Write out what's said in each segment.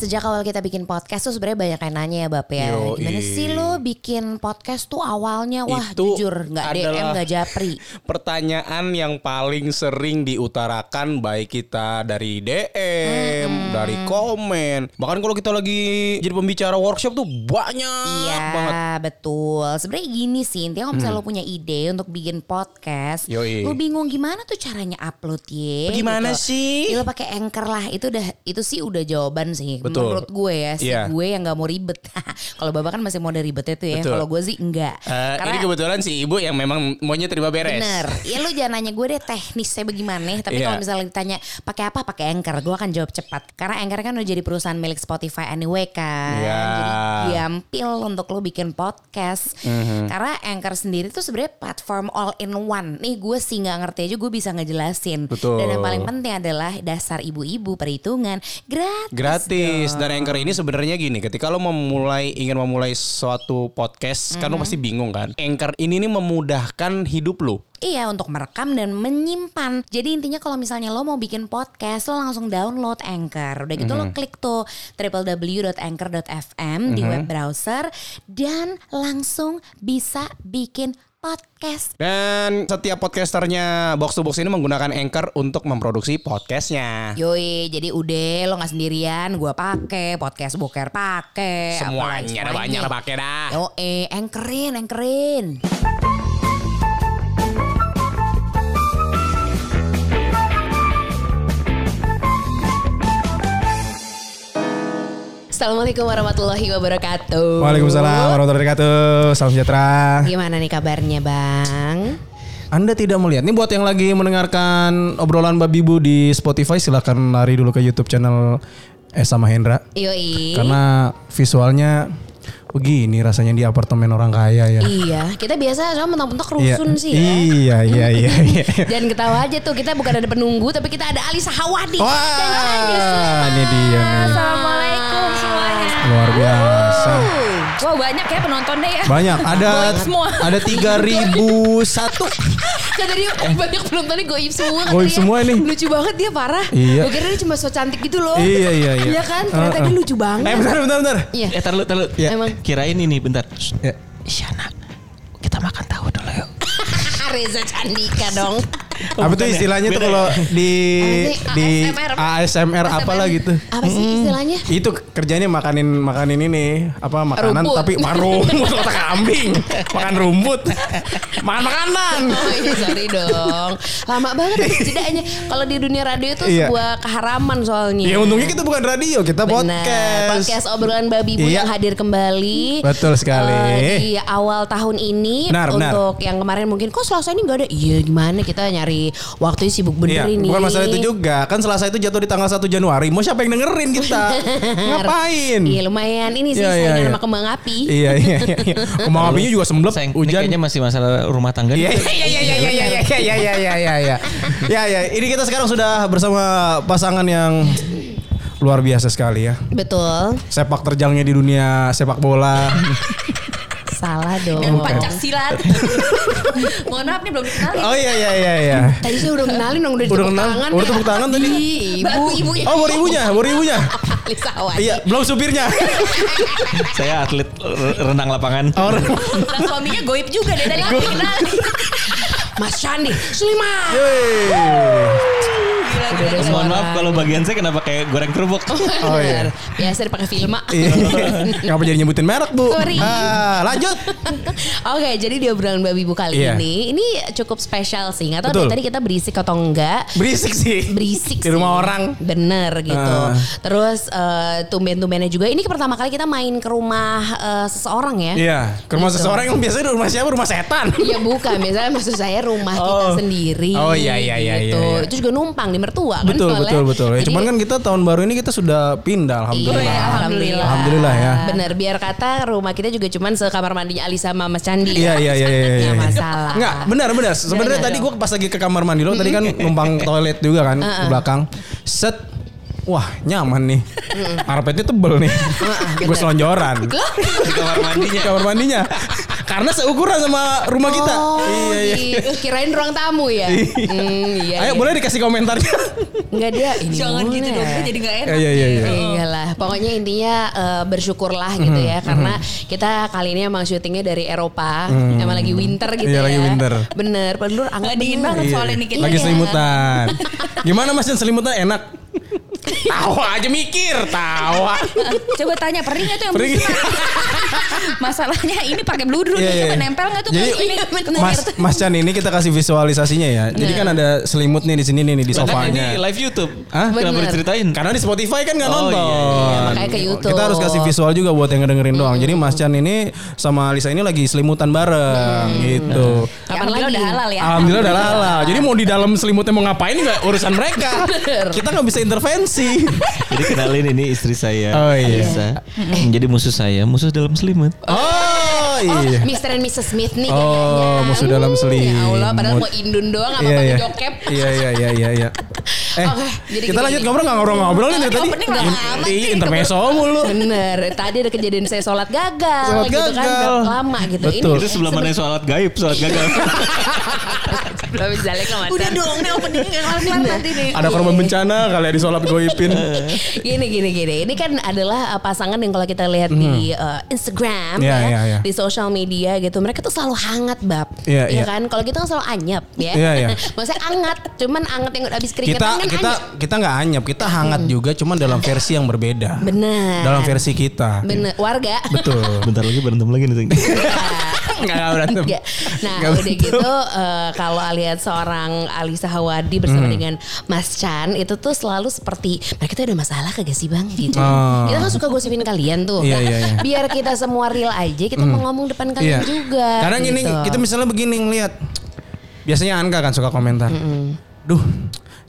Sejak awal kita bikin podcast tuh sebenarnya banyak yang nanya ya Bap ya. Yoi. Gimana sih lo bikin podcast tuh awalnya wah Itu jujur nggak DM adalah- nggak japri. Pertanyaan yang paling sering diutarakan baik kita dari DM, dari komen. Bahkan kalau kita lagi jadi pembicara workshop tuh banyak Iya banget. Hmm. betul. Sebenarnya gini sih intinya kalau misalnya lo punya ide untuk bikin podcast, Yoi. lo bingung gimana tuh caranya upload ye? Gitu. Gimana sih? Ya, lo pakai anchor lah itu udah itu sih udah jawaban sih Betul. menurut gue ya si Iya. gue yang nggak mau ribet. kalau bapak kan masih mau ada ribetnya tuh ya. Betul. Kalau gue sih enggak. Eh, ini kebetulan si ibu yang memang maunya terima beres. Bener. Ya lu jangan nanya gue deh teknisnya bagaimana. Tapi Iya. kalau misalnya ditanya pakai apa, pakai Anchor. Gue akan jawab cepat. Karena Anchor kan udah jadi perusahaan milik Spotify anyway kan. Iya. Jadi diampil untuk lu bikin podcast. Mhm. Karena Anchor sendiri tuh sebenarnya platform all in one. Nih gue sih nggak ngerti aja gue bisa ngejelasin. Betul. Dan yang paling penting adalah dasar ibu-ibu perhitungan gratis. Gratis dan Anchor ini sebenarnya gini, ketika lo memulai ingin memulai suatu podcast, kan lo pasti bingung kan. Anchor ini nih memudahkan hidup lo. Iya untuk merekam dan menyimpan. Jadi intinya kalau misalnya lo mau bikin podcast, lo langsung download Anchor. Udah gitu Mhm. lo klik tuh www.anchor.fm di web browser dan langsung bisa bikin podcast. Dan setiap podcasternya Box to Box ini menggunakan Anchor untuk memproduksi podcastnya. Yoi, jadi udah lo nggak sendirian, gua pake podcast boker pake. Eh, apalagi Semuanya ada semuanya. banyak lah pakai dah. Yo, eh, anchorin, anchorin. Assalamualaikum warahmatullahi wabarakatuh. Waalaikumsalam warahmatullahi wabarakatuh. Salam sejahtera. Gimana nih kabarnya, Bang? Anda tidak melihat nih buat yang lagi mendengarkan obrolan Babi Bu di Spotify silahkan lari dulu ke YouTube channel Esa Mahendra Yoi. karena visualnya begini rasanya di apartemen orang kaya ya. Iya, kita biasa cuma mentok-mentok rusun Iya. sih ya. Iya iya iya iya. Jangan ketawa aja tuh, kita bukan ada penunggu tapi kita ada Alisa Hawadi. Dan Andi Wah, ini dia nih. Assalamualaikum semuanya. Luar biasa. Wow banyak ya penontonnya ya. Banyak. Ada Goib semua. ada 3001. Saya tadi banyak penontonnya goib semua. Eh. Goib katanya. semua nih. Lucu banget dia parah. Iya. Gue kira dia cuma so cantik gitu loh. Iya, iya, iya. Iya kan? Ternyata Uh-uh. dia lucu banget. Eh bentar bentar bentar. Iya. Eh taruh, taruh. Ya. Emang. Kirain ini bentar. Ya. Isyana, kita makan tahu dulu yuk. Ah, Reza Candika dong. apa tuh bukan ya? istilahnya tuh Beda kalau di Apa sih? di ASMR? ASMR apalah gitu. Apa ya? sih istilahnya? Itu kerjanya makanin makanin ini apa makanan Rumput. tapi makan rumput kata kambing, makan rumput. Makan makanan. Oh iya sorry dong Lama banget ya, habis jedanya Kalau di dunia radio itu Iya. sebuah keharaman soalnya Ya untungnya kita bukan radio, kita Benar, podcast. Podcast obrolan babi bu Iya. yang hadir kembali Betul sekali. Eh, Di awal tahun ini Benar, benar. Untuk yang kemarin mungkin Kok selasa ini gak ada Iya gimana kita nyari Waktunya sibuk bener Iya, ini bukan masalah itu juga. Kan Selasa itu jatuh di tanggal 1 Januari. Mau siapa yang dengerin kita? Ngapain? Iya lumayan Ini sih Iya, iya, saingan iya. sama kembang api Iya iya iya. iya. Kemang apinya juga semblep Sayang, ini hujan. kayaknya masih masalah rumah tangga. Iya nih. iya iya iya iya iya iya iya iya iya iya iya. Ya ya, ini kita sekarang sudah bersama pasangan yang luar biasa sekali ya. Betul Sepak terjangnya di dunia sepak bola. Salah dong Dan Pancasilat. Mohon maaf nih belum dikenalin. Oh iya iya iya iya. Tadi saya udah kenalin dong Udah Udah ditepuk kenal? tangan Udah ya. tepuk tangan tadi? Ih, Ibu Batu ibunya. Oh, baru ibunya, baru ibunya. Alisa Hawadi. Iya, belum supirnya. Saya atlet r- renang lapangan. Orang. Nah, suaminya goib juga deh tadi belum dikenalin. Mas Sandi Sulaiman Iya, Gila, gila, gila. Mohon maaf kalau bagian saya kenapa kayak goreng kerupuk. Oh, iya. Biasa dipakai filma. Iya. Ngapa jadi nyebutin merek, Bu? Sorry. Ah, lanjut. Oke, jadi di obrolan babi bu kali Iya. ini, ini cukup spesial sih. Nggak tahu Betul. deh tadi kita berisik atau enggak. Berisik sih. Berisik Di rumah orang. Bener gitu. Ah. Terus eh, tumben-tumbennya juga. Ini pertama kali kita main ke rumah eh, seseorang ya. Iya, ke rumah Gitu. seseorang yang biasanya rumah siapa? Rumah setan. Iya bukan, misalnya maksud saya rumah kita Oh. sendiri. Oh, iya, iya, iya, gitu. iya, iya. Itu juga numpang di mertua kan Betul, soalnya. betul, betul. Ya, Jadi- cuman kan kita tahun baru ini kita sudah pindah alhamdulillah. Iya, alhamdulillah. Alhamdulillah ya. Bener, biar kata rumah kita juga cuman sekamar mandinya Alisa sama Mas Candi. ya. Iya iya iya iya. iya. Nggak masalah. Iya, Nggak, benar benar. Sebenarnya Nggak tadi gue dong. pas lagi ke kamar mandi lo tadi kan numpang toilet juga kan ke belakang. Set Wah nyaman nih Karpetnya tebel nih Gue selonjoran Di kamar mandinya. Kamar mandinya Karena seukuran sama rumah kita. Iya, Oh, gitu. kirain ruang tamu ya. Hmm, iya, Ayo iya. boleh dikasih komentarnya. Nggak dia ini Jangan gitu boleh. dong, gue jadi gak enak. gitu. Iya, iya, Mm-hmm, iya. nih. Iya lah, pokoknya intinya eh, bersyukurlah gitu ya karena kita kali ini emang syutingnya dari Eropa, emang lagi winter gitu Mm-hmm. Iya, ya. lagi winter. Bener, bener Nggak angkat dingin bener. banget soalnya ya. nih kita. Lagi Iya. selimutan. Gimana Mas Yan, selimutan enak? Tawa aja mikir, tawa. Coba tanya perih gak tuh yang Perih. busuk? Masalahnya ini pakai bludru Iya, iya. nih, coba nempel gak tuh ke Jadi, ini? Ke Mas gitu. pinggir tuh. Mas Chan ini kita kasih visualisasinya ya. Jadi kan ada selimut nih di sini nih di Bahkan Kan ini sofanya. live YouTube. Hah? Kenapa Bener. diceritain? Karena di Spotify kan nggak Oh, nonton. iya, iya, makanya ke YouTube. Kita harus kasih visual juga buat yang ngedengerin doang. Jadi Mas Chan ini sama Lisa ini lagi selimutan bareng gitu. Ya, Kapan alhamdulillah lagi? udah halal ya. Alhamdulillah udah halal. Jadi mau di dalam selimutnya mau ngapain nggak urusan mereka. Kita nggak bisa intervensi. Jadi kenalin ini istri saya. Oh, iya. Alisa. Menjadi musuh saya, musuh dalam selimut. Oh iya. Mr. and Mrs. Smith nih Oh, kayaknya. musuh dalam Hmm, selimut. Ya Allah, padahal mau indun doang apa Iya pakai iya. jokep. Iya iya iya iya. iya. Eh, Oke, jadi gitu. kita gini. lanjut ngobrol nggak ngobrol-ngobrol nih dari Tapi tadi. opening nggak In- lama Iya, sih, intermezzo mulu. Bener, tadi ada kejadian saya sholat gagal Sholat gitu kan gagal. berapa lama gitu. Betul. Itu sebelum mana sholat gaib, sholat gagal. Belum misalnya Udah dong, nih openingnya gak kelar-kelar nanti nih. Ada korban bencana kali ya di sholat goipin. Gini gini gini. Ini kan adalah uh, pasangan yang kalau kita lihat di uh, Instagram Mhm. Iya, ya, iya, iya. di sosial media gitu, mereka tuh selalu hangat bab. Iya, ya iya. kan? Kalau kita kan selalu anyap ya. Iya, iya. Maksudnya anget, cuman anget yang udah habis keringetan kita kan kita anyap. kita nggak anyap, kita hangat juga cuman dalam versi yang berbeda. Benar. Dalam versi kita. Bener, warga. Iya. Betul. Bentar lagi berantem lagi nih. Enggak berantem. Enggak. Nah Iya. Nggak udah betul. gitu eh, kalau lihat seorang Alisa Hawadi bersama Hmm. dengan Mas Chan itu tuh selalu seperti mereka tuh ada masalah kagak sih bang gitu. Oh. Kita kan suka gosipin kalian tuh. Iya, iya, iya. Biar kita semua real aja kita mau ngomong depan kalian Iya. juga. Karena gini, gitu. kita misalnya begini ngelihat. Biasanya Anka kan suka komentar. Duh,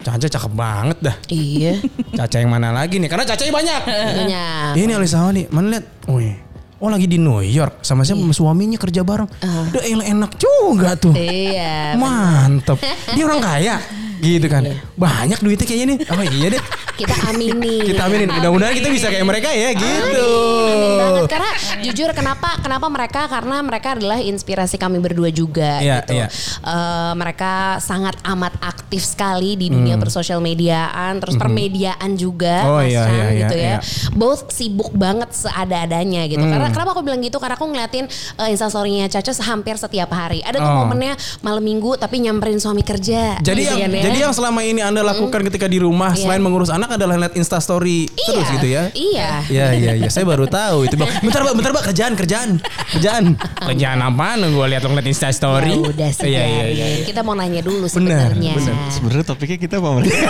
Caca cakep banget dah. Iya. Caca yang mana lagi nih? Karena Cacanya banyak. Tentunya. Ini Alisa nih, mana lihat? Wih. Oh lagi di New York sama siapa Sama suaminya kerja bareng. Duh, el- enak juga tuh. Ah. Iya. Mantep. Dia orang kaya. Gitu kan. Banyak duitnya kayaknya nih. Oh iya deh. Kita amini. Kita aminin. Mudah-mudahan kita bisa kayak mereka ya gitu. Amin banget karena jujur kenapa kenapa mereka karena mereka adalah inspirasi kami berdua juga Iya, gitu. iya. Eh, mereka sangat amat aktif sekali di dunia bersosial mediaan terus permediaan juga Hmm. Oh, Mas iya, Chan, iya, gitu iya, ya. iya. Hmm. Both sibuk banget seada-adanya gitu. Karena kenapa aku bilang gitu karena aku ngeliatin eh, instastorynya Caca hampir setiap hari. Ada tuh Oh. momennya malam minggu tapi nyamperin suami kerja. Jadi gitu kan ya. yang Hmm. jadi yang selama ini Anda lakukan ketika di rumah selain mengurus anak adalah lihat Insta story terus gitu ya. Iya. Iya iya iya saya baru tahu itu Bang. Bentar Pak, bentar Pak kerjaan kerjaan. Kerjaan. kerjaan apaan gua lihat ngeliat Insta story. Ya udah sih. Iya iya Gary. iya. Kita mau nanya dulu Benar, sebenarnya. benar. Sebenarnya topiknya kita apa mereka?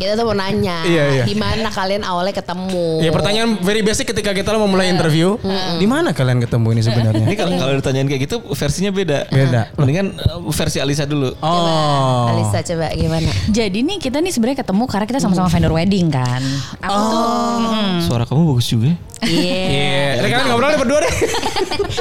Kita tuh mau nanya, Iya, iya. di mana kalian awalnya ketemu? Ya pertanyaan very basic ketika kita mau mulai interview, di mana kalian ketemu ini sebenarnya? Iya, Ini kalau kalau ditanyain kayak gitu versinya beda. Beda. Mendingan eh, versi Alisa dulu. Oh. Alisa coba gimana? Jadi nih kita nih sebenarnya ketemu karena kita sama-sama vendor wedding kan. Aku tuh Hmm. Suara kamu bagus juga. ya. Iya. Iya, kalian ngobrol berdua deh.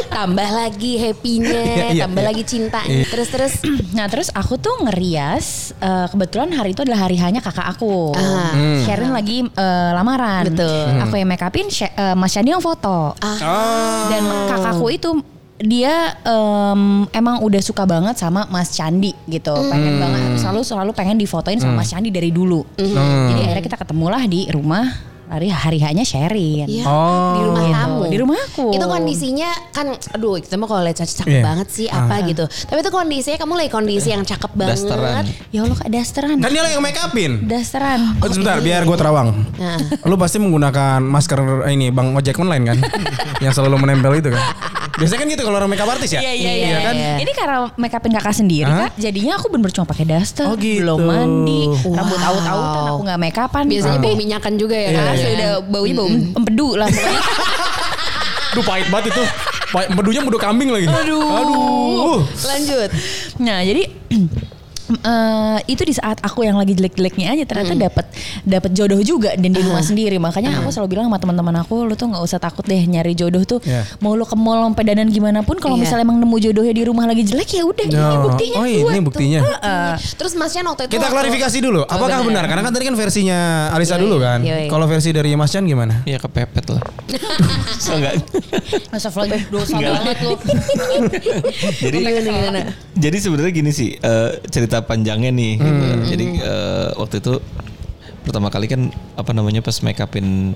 tambah lagi happy-nya, Iya, iya, tambah iya. lagi cintanya. Terus terus Nah terus aku tuh ngerias eh, kebetulan hari itu adalah hari hanya kakak aku. Ah. Sharon lagi eh, lamaran. Betul. Aku yang make upin, Sha- eh, Mas Shani yang foto. Dan kakakku itu dia em, emang udah suka banget sama Mas Candi gitu. Pengen banget selalu selalu pengen difotoin sama Mas Candi dari dulu. Jadi akhirnya kita ketemulah di rumah hari hari hanya Sharon. ya, Oh. di rumah kamu. Iya, Di rumah aku. Itu kondisinya kan aduh, kita mah kalau lihat Caca cakep Iya. banget sih apa gitu. Tapi itu kondisinya kamu lagi kondisi yang cakep banget. Dasteran. Ya Allah Kak, dasteran. Kan dia yang make upin. Dasteran. Oh, sebentar, biar gue terawang. Nah. Lu pasti menggunakan masker ini Bang Ojek online kan? yang selalu menempel itu kan. Biasanya kan gitu kalau orang makeup artis ya? Iya iya Iya iya. kan? Ini karena make upin kakak sendiri Hah? kak. Jadinya aku bener-bener cuma pakai daster, Oh, gitu. belum mandi, Wow. rambut aut-autan, aku nggak Iya. make Ah. upan. Biasanya Tapi bau minyakan juga ya. Iya, kan? asli udah baunya bau empedu lah. pokoknya. Duh pahit banget itu. Pahit- Medunya medu kambing lagi. Aduh. Aduh. Lanjut. nah jadi eh, itu di saat aku yang lagi jelek-jeleknya aja ternyata dapat dapat jodoh juga dan di rumah sendiri makanya aku selalu bilang sama teman-teman aku lu tuh nggak usah takut deh nyari jodoh tuh Iya. mau lu ke mall sampai danan gimana pun kalau Iya. misalnya emang nemu jodohnya di rumah lagi jelek ya udah ini No. buktinya Oh, dua ini tuh. buktinya. Heeh. Terus Mas Chan waktu itu Kita waktu- klarifikasi dulu, apakah Oh, benar? Karena kan tadi kan versinya Alisa dulu kan. Yoi. Kalau versi dari Mas Chan gimana? Iya kepepet lah. so, enggak. Astagfirullah, dosa banget lu. Jadi jadi sebenarnya gini sih eh, cerita panjangnya nih. gitu. Hmm. Jadi eh, waktu itu pertama kali kan apa namanya pas make upin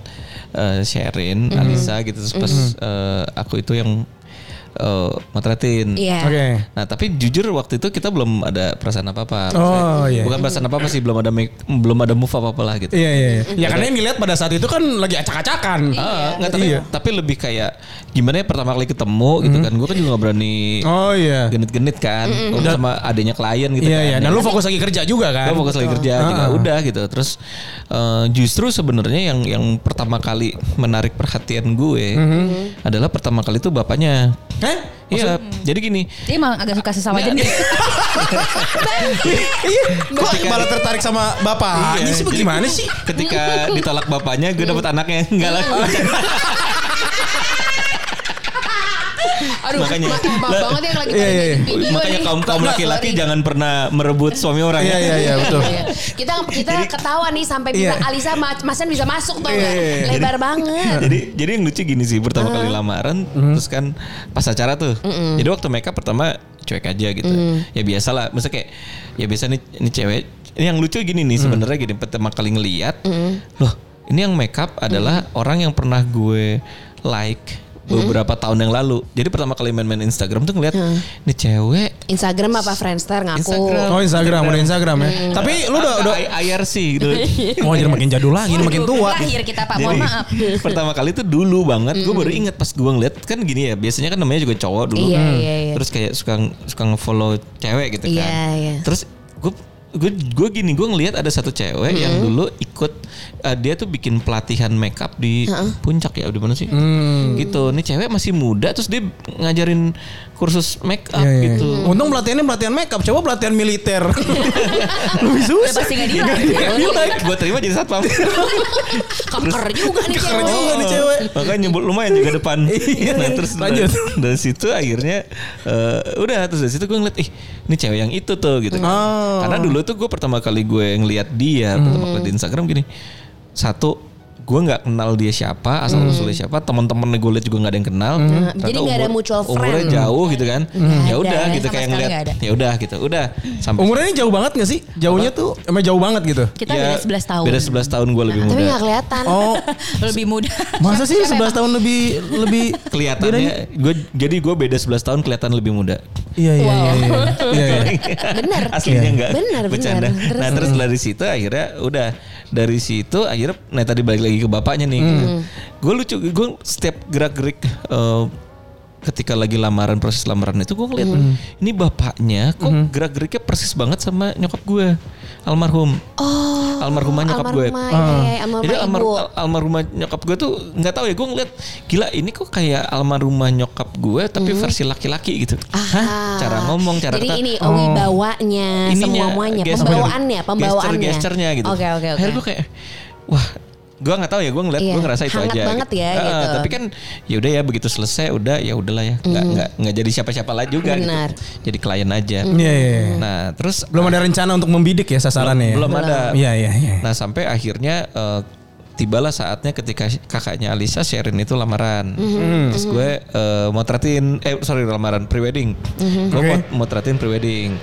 eh, Sherin, Hmm. Alisa gitu terus pas Hmm. eh, aku itu yang eh, motretin. Iya. Oke. Nah tapi jujur waktu itu kita belum ada perasaan apa apa. Oh, iya. Bukan perasaan apa apa sih belum ada make, belum ada move apa apa lah gitu. Iya iya. iya. Ya karena yang dilihat pada saat itu kan lagi acak-acakan. Ah, nggak, tapi, Iya. Mm-hmm. tapi lebih kayak gimana ya pertama kali ketemu gitu kan. Gue kan juga nggak berani Oh iya. genit-genit kan Gua sama adanya klien gitu Iya kan. iya. Dan lu fokus lagi kerja juga kan? Gua fokus lagi kerja juga udah gitu. Terus eh, justru sebenarnya yang yang pertama kali menarik perhatian gue Mm-hmm. adalah pertama kali itu bapaknya. Hah? Iya, jadi gini. Dia emang agak suka sesama jenis. Iya. Kok malah tertarik sama bapak? Ini sih bagaimana Iya, sih? Iya, Ketika ditolak bapaknya, gue dapet anaknya enggak lah. Aduh, Makanya. ya. maaf maaf banget yang lagi Iya, pada iya, iya. bikin video Makanya nih. kaum kaum Sorry. laki-laki jangan gitu. pernah merebut suami orang. ya. Iya iya iya betul. Iya. Kita kita ketawa nih sampai bisa Iya. Alisa Ma- Mas Chan bisa masuk tuh Iya, iya, iya. lebar banget. Nah, jadi jadi yang lucu gini sih pertama kali lamaran Hmm. terus kan pas acara tuh jadi waktu makeup pertama cuek aja gitu ya biasa lah maksudnya kayak ya biasa nih ini cewek ini yang lucu gini Mm. nih sebenarnya gini pertama kali ngeliat loh ini yang makeup adalah orang yang pernah gue like beberapa tahun yang lalu jadi pertama kali main-main Instagram tuh ngeliat ini cewek Instagram apa Friendster ngaku. Instagram. Oh Instagram, udah Instagram ya. Tapi lu udah udah. I- IRC gitu Oh jadi makin jadul lagi, ini makin Aduh, tua. Lahir kita Pak, Jadi, mohon maaf. pertama kali itu dulu banget, gue baru inget pas gue ngeliat kan gini ya, biasanya kan namanya juga cowok dulu, Iya, iya, iya. terus kayak suka suka ngefollow cewek gitu kan, Iya, iya. terus gue gue gue gini gue ngelihat ada satu cewek yang dulu ikut eh, dia tuh bikin pelatihan makeup di puncak ya di mana sih Mm. gitu nih cewek masih muda terus dia ngajarin kursus makeup Iya, iya. gitu Untung pelatihannya pelatihan makeup, coba pelatihan militer. Lebih susah. Pasti nggak di-like. gue terima jadi satpam Keker juga nih Keren cewek. juga nih cewek. Iya, Makanya nyebut lumayan juga depan. nah, terus lanjut. Dari, dari situ akhirnya eh, udah terus dari situ gue ngeliat ih ini cewek yang itu tuh gitu. kan. Oh. Hmm. Karena dulu tuh gue pertama kali gue ngeliat dia pertama kali di Instagram gini satu gue nggak kenal dia siapa Hmm. asal usulnya siapa teman-teman gue liat juga nggak ada yang kenal Ternyata Jadi nggak ada umur- mutual friend. umurnya jauh gitu kan Hmm. ya udah gitu sama kayak sekali ngeliat nggak ada. ya udah gitu udah sampai Umurnya ini jauh banget gak sih? Jauhnya tuh emang jauh banget gitu. Kita Ya, beda 11 tahun. beda 11 tahun gue lebih Tapi muda nggak kelihatan. Oh, Lebih muda. masa sih 11 tahun lebih lebih bedanya? kelihatannya gue jadi gue beda 11 tahun kelihatan lebih muda Iya iya iya. iya. Iya iya. Bener. aslinya Iya. enggak Benar, benar. bercanda Terus- nah terus dari situ akhirnya udah dari situ akhirnya nah tadi balik lagi ke bapaknya nih Hmm. gue lucu gue setiap gerak gerik ketika lagi lamaran proses lamaran itu gue ngeliat Hmm. ini bapaknya kok gerak geriknya persis banget sama nyokap gue almarhum Oh. almarhumah nyokap gue Ah. almarhumah, iya, iya, almarhumah jadi almar, ibu. al- almarhumah nyokap gue tuh nggak tahu ya gue ngeliat gila ini kok kayak almarhumah nyokap gue tapi versi laki-laki gitu Hmm. Ah. cara ngomong cara Jadi kata- Oh. ini ya, wibawanya, ininya semuanya, gesture- Nah, pembawaannya, pembawaannya. gesture-gesturnya gitu. Oke, oke, oke. Akhirnya gue kayak wah gue nggak tahu ya gue ngeliat Iya, gue ngerasa itu hangat aja banget ya, Ah, gitu. tapi kan ya udah ya begitu selesai udah ya udahlah ya nggak nggak nggak jadi siapa-siapa lah juga Mm-hmm. gitu. Benar. Mm-hmm. jadi klien aja Iya iya. iya. nah terus Belum ada rencana untuk membidik ya sasarannya ya? belum ada Iya iya iya. nah sampai akhirnya eh, tibalah saatnya ketika kakaknya Alisa Sherin itu lamaran Mm-hmm. Mm-hmm. terus gue eh, motretin eh sorry lamaran prewedding Mm-hmm. gue Oke. Mm-hmm. mot- motretin prewedding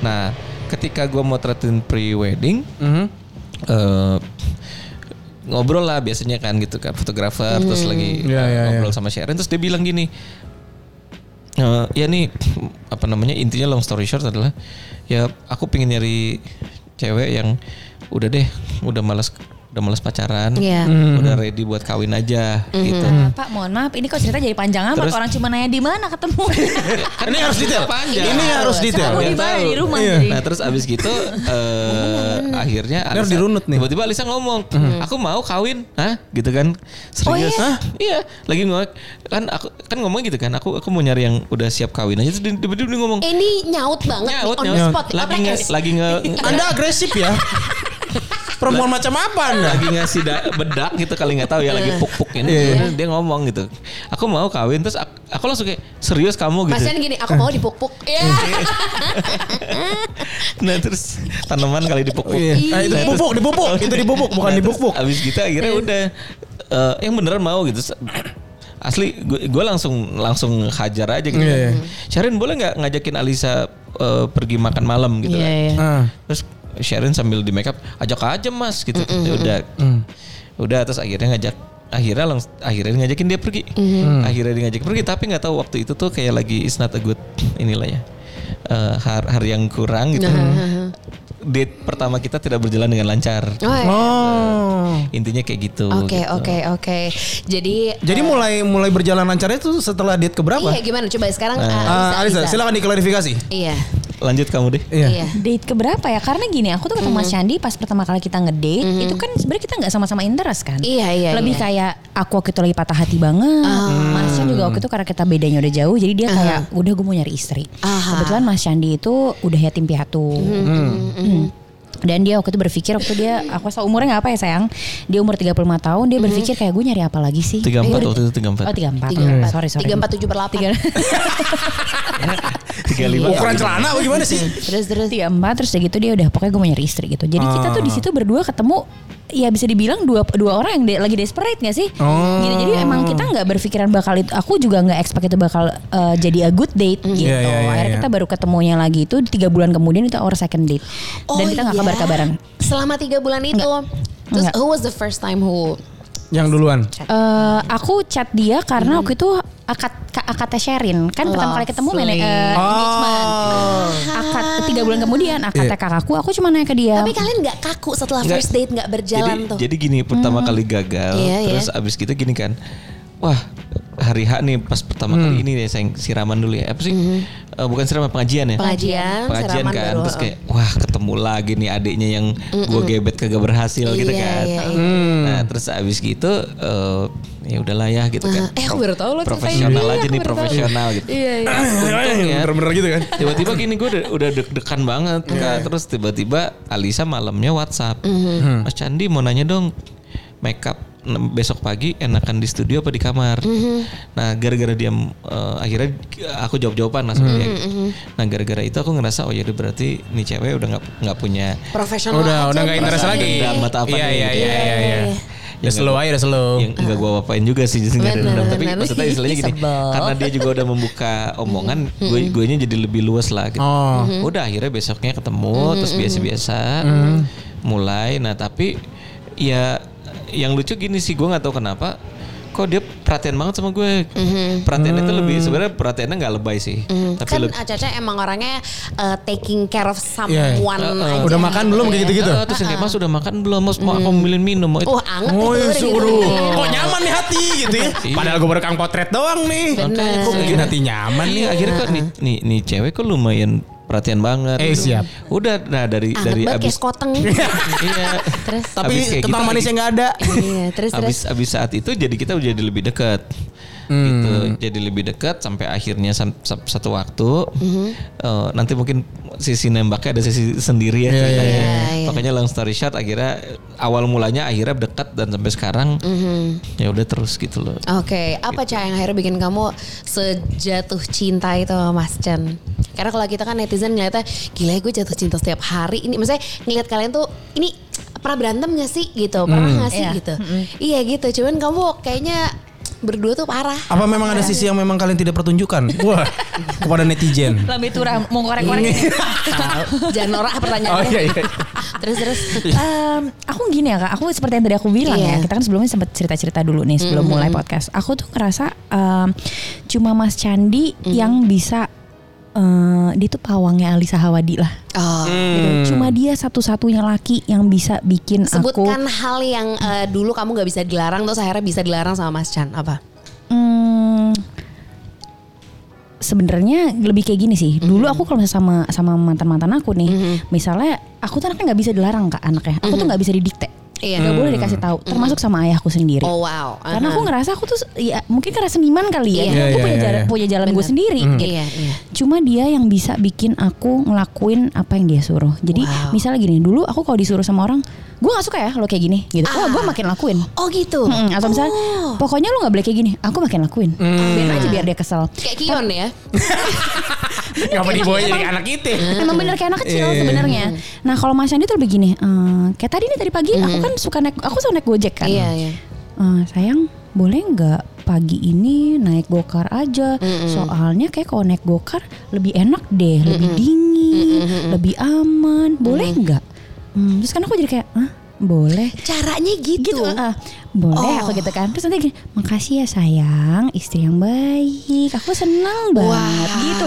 nah ketika gue motretin prewedding Mhm. eh ngobrol lah biasanya kan gitu kan fotografer terus lagi Iya, eh, iya, ngobrol sama Sharon terus dia bilang gini eh ya nih apa namanya intinya long story short adalah ya aku pengen nyari cewek yang udah deh udah malas udah males pacaran, Iya. Hmm. udah ready buat kawin aja gitu. Pak, mohon maaf, ini kok cerita jadi panjang amat. Terus- Orang cuma nanya di mana ketemu. Ini harus detail. Kan Panjang. Ini harus detail. Aku Biar di mana tahu. di rumah. Iya. jadi. Nah terus abis gitu eh akhirnya harus dirunut nih. Mhm. Tiba-tiba Alisa ngomong, Iya. aku mau kawin, hah? Gitu kan? Oh, Serius? iya? Hah? Iya. Lagi ngomong kan aku kan ngomong gitu kan, aku aku mau nyari yang udah siap kawin aja. Terus dia- tiba-tiba dia ngomong, Ini Eh, nyaut banget nih, nyaut on nyaut. the spot. Lagi otak nge, es. lagi nge, Anda agresif ya. Perempuan macam apa Anda? lagi ngasih da- bedak gitu kali nggak tahu ya Iya. lagi puk-puk ini Terus dia ngomong gitu aku mau kawin terus aku, aku langsung kayak serius kamu gitu Pasien gini, aku mau dipuk-puk. Iya. nah terus tanaman kali dipuk-puk Nah, itu dipupuk, dipupuk. Itu dipupuk, bukan Iya. Nah, terus dipupuk. Abis gitu akhirnya udah eh, yang beneran mau gitu. Asli gue langsung langsung hajar aja gitu. Iya, iya. Sharon boleh nggak ngajakin Alisa eh, pergi makan malam gitu Iya, kan. iya. Ah. Terus Sharon sambil di makeup ajak aja Mas gitu. Ya udah. Mm. Udah terus akhirnya ngajak akhirnya langsung akhirnya ngajakin dia pergi. Mm. Akhirnya dia ngajak pergi tapi nggak tahu waktu itu tuh kayak lagi it's not a good inilah ya. eh, har- hari yang kurang gitu. Date pertama kita tidak berjalan dengan lancar. Oh, iya. Oh. Intinya kayak gitu. Oke, gitu. oke, oke. Jadi Jadi mulai mulai berjalan lancarnya itu setelah date keberapa? Iya gimana coba sekarang uh, Ah, Alisa, silakan diklarifikasi. Iya. Lanjut kamu deh. Iya. Mm-hmm. Date keberapa ya? Karena gini, aku tuh ketemu Mas Candi pas pertama kali kita ngedate, itu kan sebenarnya kita nggak sama-sama interest kan? Iya, iya, iya. Lebih Ah. kayak aku waktu itu lagi patah hati banget. Mas Candi juga waktu itu karena kita bedanya udah jauh, jadi dia kayak udah gue mau nyari istri. Aha. Mm-hmm, Kebetulan Mas Candi itu udah yatim piatu. Hmm. Dan dia waktu itu berpikir waktu dia aku rasa umurnya nggak apa ya sayang. Dia umur 35 tahun dia berpikir kayak gue nyari apa lagi sih? 34 waktu itu Mm-hmm. 34. Oh 34. Iya. Tiga empat. Sorry sorry. Tiga empat tujuh berlapan. Ukuran celana apa gimana sih? terus terus tiga empat terus udah gitu dia udah pokoknya gue mau nyari istri gitu jadi kita Ah. tuh di situ berdua ketemu ya bisa dibilang dua dua orang yang de- lagi desperate gak sih Oh. Gitu, jadi emang kita nggak berpikiran bakal itu aku juga nggak expect itu bakal uh, jadi a good date gitu Iya, iya, iya, akhirnya iya. kita baru ketemunya lagi itu tiga bulan kemudian itu our second date dan kita nggak iya. kabar kabaran Selama tiga bulan itu. Terus Nggak. who was the first time who? Yang duluan. Eh, aku chat dia Mm-hmm. karena waktu itu akad ka- akadnya Sherin kan pertama kali ketemu Lovely. mana eh, Oh. engagement. Ah. akad tiga bulan kemudian Iya. akadnya kakakku aku cuma nanya ke dia Tapi kalian nggak kaku setelah Nggak. first date nggak berjalan Jadi, tuh. jadi gini pertama kali gagal Iya, iya. terus abis gitu gini kan. Wah, hari H nih pas pertama kali Hmm. ini deh sayang siraman dulu ya. Apa sih? Eh, bukan siraman pengajian ya. Mm-hmm. Pengajian, pengajian siraman kan baru, terus kayak wah ketemu lagi nih adiknya yang gue gebet kagak berhasil gitu Iya, kan. iya, iya. Nah, terus abis gitu eh, ya udahlah ya gitu kan. Eh, aku baru tahu loh cerita ini. Profesional aja Aku nih baru tahu. profesional gitu. Iya, iya. Untung ya, Bener-bener gitu kan. tiba-tiba gini gue udah, udah deg-degan banget Iya. Kak. terus tiba-tiba Alisa malamnya WhatsApp Mm-hmm. Mas Candi mau nanya dong makeup n- besok pagi enakan di studio apa di kamar Mm-hmm. nah gara-gara dia eh, akhirnya aku jawab-jawaban langsung ya. Mm-hmm. nah gara-gara itu aku ngerasa oh yaudah berarti nih cewek udah nggak nggak punya Profesional. Udah, aja udah nggak interest berarti. lagi. Dendam atau Iya, apa iya, nih, gitu. iya, iya, iya. Ya, Udah slow aja, udah slow. yang gitu. nggak gue apain juga sih jadi nggak Oh. ada Benar, dendam tapi benar. maksudnya istilahnya gini Sebel. Mm-hmm. karena dia juga udah membuka omongan gue gue nya jadi lebih luas lah gitu Oh. udah akhirnya besoknya ketemu Mm-hmm, terus biasa-biasa Mm-hmm. mulai nah tapi ya yang lucu gini sih gue nggak tahu kenapa kok dia perhatian banget sama gue perhatiannya itu Mm. lebih sebenarnya perhatiannya nggak lebay sih tapi Mm-hmm. kan lebih Acaca emang orangnya uh, taking care of someone Iya, iya. aja. Udah makan belum kayak gitu? gitu-gitu? Ah, terus yang kayak mas udah makan belum mas mau aku ambilin minum mau itu Mm-hmm. Wah, anget Oh, itu, ya, udah gitu. suruh. Kok nyaman nih hati gitu ya. Iya. Padahal gue baru kang potret doang nih. Makanya Kok bikin hati nyaman nih. Iya, akhirnya kok nih, nih, nih cewek kok lumayan perhatian banget. Eh, gitu. siap. Udah nah dari Anget dari banget ya, kayak abis skoteng. iya. Terus. Tapi Abis kayak kentang gitu manisnya lagi. nggak ada. Iya, terus terus. Abis abis saat itu jadi kita jadi lebih dekat. Hmm. Gitu. Jadi lebih dekat sampai akhirnya sam- sam- satu waktu Mhm. eh, nanti mungkin sisi nembaknya ada sisi sendiri ya. ceritanya. iya. Makanya long story short akhirnya awal mulanya akhirnya dekat dan sampai sekarang Mhm. ya udah terus gitu loh. Oke, apa Ca yang akhirnya bikin kamu sejatuh cinta itu sama Mas Chan? Karena kalau kita kan netizen ngeliatnya, gila ya gue jatuh cinta setiap hari. Ini maksudnya ngeliat kalian tuh, ini pernah berantem gak sih gitu? Hmm. Pernah gak sih Iya. gitu? Iya gitu, cuman kamu kayaknya berdua tuh parah. Apa memang ada sisi yang memang kalian tidak pertunjukkan? Wah, kepada netizen. lebih turah mau korek-korek Iya. ini. Jangan norak ah pertanyaannya. Oh, iya, iya. Terus terus. Em, aku gini ya kak, aku seperti yang tadi aku bilang Iya. Mm-hmm. ya, kita kan sebelumnya sempat cerita-cerita dulu nih sebelum Mm-hmm. mulai podcast. Aku tuh ngerasa em, cuma Mas Candi yang bisa eh, dia tuh pawangnya Alisa Hawadi lah. Oh. Hmm. Gitu. Cuma dia satu-satunya laki yang bisa bikin aku Sebutkan hal yang eh, dulu kamu nggak bisa dilarang terus akhirnya bisa dilarang sama Mas Chan apa? Hmm, sebenarnya lebih kayak gini Mm-hmm. sih. Dulu aku kalau misalnya sama sama mantan-mantan aku nih, misalnya aku tuh anaknya nggak bisa dilarang ke anaknya. Aku tuh nggak bisa didikte. Mm-hmm. Iya. Nggak boleh dikasih tahu, termasuk sama ayahku sendiri. Oh wow. Karena aku ngerasa aku tuh ya mungkin karena seniman kali ya. Iya. Jadi aku Iya, punya iya, jalan, iya. punya jalan gue Benar. sendiri gitu. Iya, iya. Cuma dia yang bisa bikin aku ngelakuin apa yang dia suruh. Jadi Wow. misalnya gini, dulu aku kalau disuruh sama orang, gue nggak suka ya lo kayak gini gitu. Wah, gue makin lakuin. Oh gitu. Mm-mm. atau Hmm, misalnya Ah. Oh. pokoknya lu nggak boleh kayak gini aku makin lakuin Hmm. biar aja biar dia kesel kayak Kion ya. Kenapa dibawa jadi anak itu? Hmm. Emang bener kayak Iya, anak kecil sebenarnya. Nah kalau Mas Andi tuh lebih gini, eh, kayak tadi nih tadi pagi aku kan suka naik, aku suka naik gojek kan. Hmm. Iya, iya. Eh, sayang, boleh nggak pagi ini naik gokar aja? Soalnya kayak kalau naik gokar lebih enak deh, lebih dingin, lebih aman. Boleh nggak? Hmm, terus kan aku jadi kayak, ah boleh. Caranya gitu. gitu eh, boleh Oh. aku gitu kan terus nanti gini makasih ya sayang istri yang baik aku senang Wow. banget gitu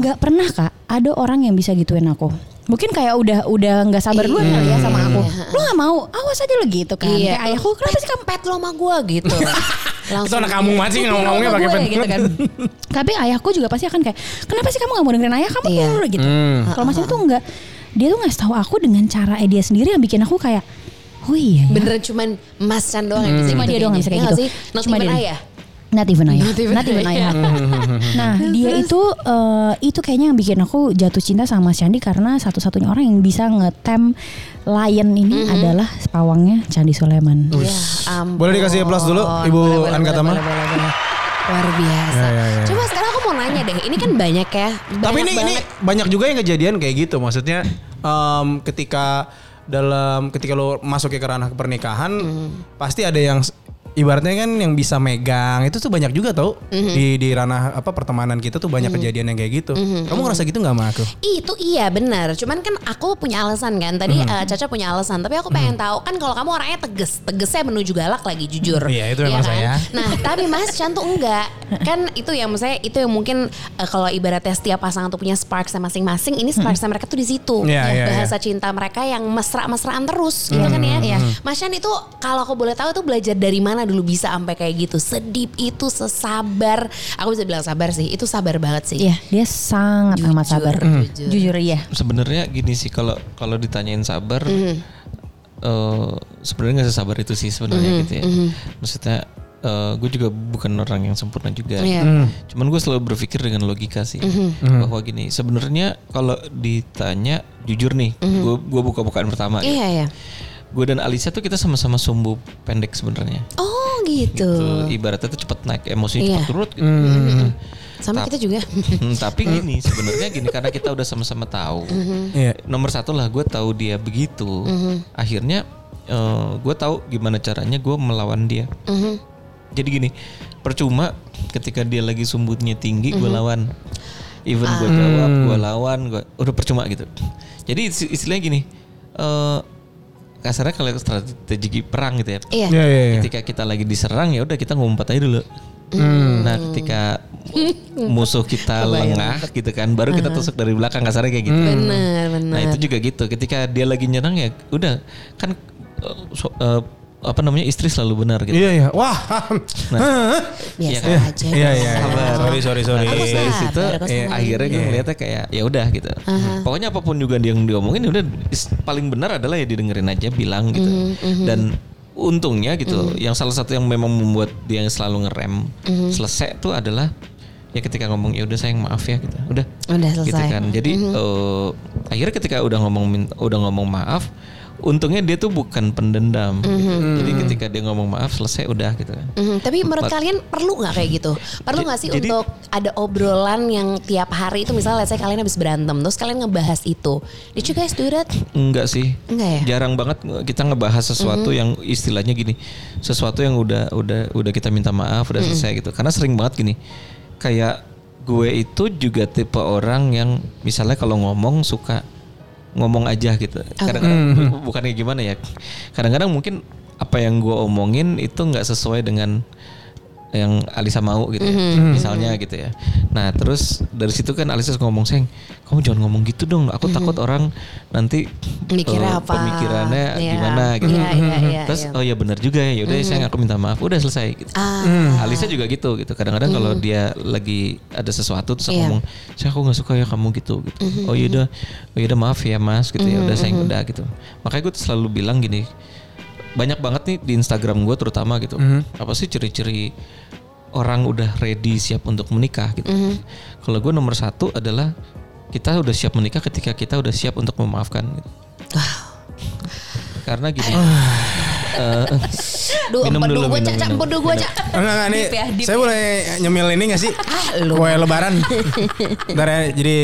nggak pernah kak ada orang yang bisa gituin aku mungkin kayak udah udah nggak sabar duluan kali ya sama aku lo nggak mau awas aja lo gitu kan Iya. kayak ayahku kenapa sih kamu Pet lo sama gue gitu. Itu anak kamu masih Kenapa ngomong-ngomongnya sama pakai gue? pen. gitu kan. Tapi ayahku juga pasti akan kayak, kenapa sih kamu gak mau dengerin ayah kamu Iya. dulu gitu. Kalau masnya tuh enggak, dia tuh ngasih tahu aku dengan cara eh, dia sendiri yang bikin aku kayak, oh iya ya. Beneran cuman Mas Chan doang yang bisa Cuma gitu dia doang yang bisa kayaknya. kayak Iya nggak gitu. sih? Not Cuma even dia. ayah. Not even ayah. Not even ayah. nah dia itu eh, itu kayaknya yang bikin aku jatuh cinta sama Mas Candi karena satu-satunya orang yang bisa ngetem lion ini adalah pawangnya Candi Suleman. Ya ampun. Boleh dikasih applause dulu, Ibu Boleh, boleh, Anka boleh, Tama? boleh, boleh, boleh. Luar biasa. Ya, ya, ya. Coba sekarang aku mau nanya deh. Ini kan banyak ya. Tapi banyak ini ini banget. banyak juga yang kejadian kayak gitu. Maksudnya em, ketika dalam ketika lo masuk ke ranah pernikahan Mhm. pasti ada yang s- ibaratnya kan yang bisa megang itu tuh banyak juga tau Mhm. di di ranah apa pertemanan kita tuh banyak kejadian yang kayak gitu. Mhm. Kamu ngerasa gitu nggak sama aku? Itu iya benar. Cuman kan aku punya alasan kan. Tadi Hmm. eh, Caca punya alasan. Tapi aku pengen tahu kan kalau kamu orangnya tegas, tegesnya menuju galak lagi jujur. Iya, itu memang saya. Nah tapi Mas Chan tuh enggak. Kan itu yang saya itu yang mungkin eh, kalau ibaratnya setiap pasangan tuh punya sparksnya masing-masing. Ini sparksnya mereka tuh di situ. Nah, Iya, iya, Hmm. Bahasa cinta mereka yang mesra-mesraan terus gitu kan ya. Mas Chan itu kalau aku boleh tahu tuh belajar dari mana dulu bisa sampai kayak gitu. Sedip itu sesabar. Aku bisa bilang sabar sih. Itu sabar banget sih. Iya, dia sangat amat sabar. jujur. Jujur iya. sebenarnya gini sih kalau kalau ditanyain sabar Mhm. eh, sebenarnya nggak sesabar itu sih Mhm, sebenarnya gitu ya maksudnya eh, gue juga bukan orang yang sempurna juga Iya. Mhm. cuman gue selalu berpikir dengan logika sih bahwa gini sebenarnya kalau ditanya jujur nih gue gue buka-bukaan pertama Mhm. Iya ya. gue dan Alisa tuh kita sama-sama sumbu pendek sebenarnya Oh gitu. Tuh, ibaratnya tuh cepet naik emosinya Iya. cepet turut gitu. Sama kita juga. Hmm, tapi gini sebenarnya gini karena kita udah sama-sama tahu Mhm. Eh. Iya. nomor satu lah gue tahu dia begitu akhirnya eh, gue tahu gimana caranya gue melawan dia jadi gini percuma ketika dia lagi sumbutnya tinggi gue lawan even gue jawab gue lawan gue udah percuma gitu jadi is- istilahnya gini eh, kasarnya kalau strategi perang gitu ya Iya. Iya iya. iya. ketika kita lagi diserang ya udah kita ngumpet aja dulu nah ketika musuh kita lengah gitu kan baru kita tusuk dari belakang kasarnya kayak gitu Benar, benar. nah itu juga gitu ketika dia lagi nyerang ya udah kan eh, so- eh, apa namanya istri selalu benar gitu Iya iya. Wah. Nah. Biasa Iya aja. Iya iya. Sabar. Sorry sorry sorry. Iya, Nah, terus dari sabar, situ aku eh, sabar. akhirnya gue ngeliatnya kayak ya udah gitu. Pokoknya apapun juga dia yang diomongin udah is- paling benar adalah ya didengerin aja bilang gitu. Mhm, Dan untungnya gitu yang salah satu yang memang membuat dia yang selalu ngerem Mhm. selesai tuh adalah ya ketika ngomong ya udah sayang maaf ya gitu. Udah. Udah selesai. Gitu kan. Jadi eh, akhirnya ketika udah ngomong min- udah ngomong maaf Untungnya dia tuh bukan pendendam, gitu. jadi ketika dia ngomong maaf selesai udah gitu kan. Mhm, tapi menurut kalian perlu nggak kayak gitu? Perlu nggak sih Jadi- untuk ada obrolan yang tiap hari itu misalnya let's say kalian habis berantem terus kalian ngebahas itu. Did you guys do that? Enggak sih. Enggak ya? Jarang banget kita ngebahas sesuatu yang istilahnya gini, sesuatu yang udah udah udah kita minta maaf, udah selesai gitu. Karena sering banget gini. Kayak gue itu juga tipe orang yang misalnya kalau ngomong suka ngomong aja gitu. Kadang-kadang bu- bukannya gimana ya? Kadang-kadang mungkin apa yang gue omongin itu nggak sesuai dengan yang Alisa mau gitu ya. Misalnya gitu ya. Nah, terus dari situ kan Alisa suka ngomong, "Seng, kamu jangan ngomong gitu dong. Aku takut orang nanti Mikirnya eh, apa? pemikirannya Iya. gimana gitu." Iya, iya, iya, terus iya. oh ya benar juga ya. Udah, Seng, aku minta maaf. Udah selesai gitu. Ah, Alisa juga gitu gitu. Kadang-kadang kalau dia lagi ada sesuatu terus aku Iya. ngomong, "Saya aku nggak suka ya kamu gitu." gitu. Oh ya udah, oh ya udah maaf ya Mas gitu ya. Udah saya udah gitu. Makanya gue selalu bilang gini, banyak banget nih di Instagram gue terutama gitu. Apa sih ciri-ciri orang udah ready siap untuk menikah gitu. Kalau gue nomor satu adalah kita udah siap menikah ketika kita udah siap untuk memaafkan gitu. Karena gini. eh, Duh, Minum empedu dulu, gue minum, cak, cak, minum. empedu gue cak. Enggak, enggak, nih. Deep ya, deep saya ya. Ah, boleh nyemil ini gak sih? Kue lebaran. Ntar ya, jadi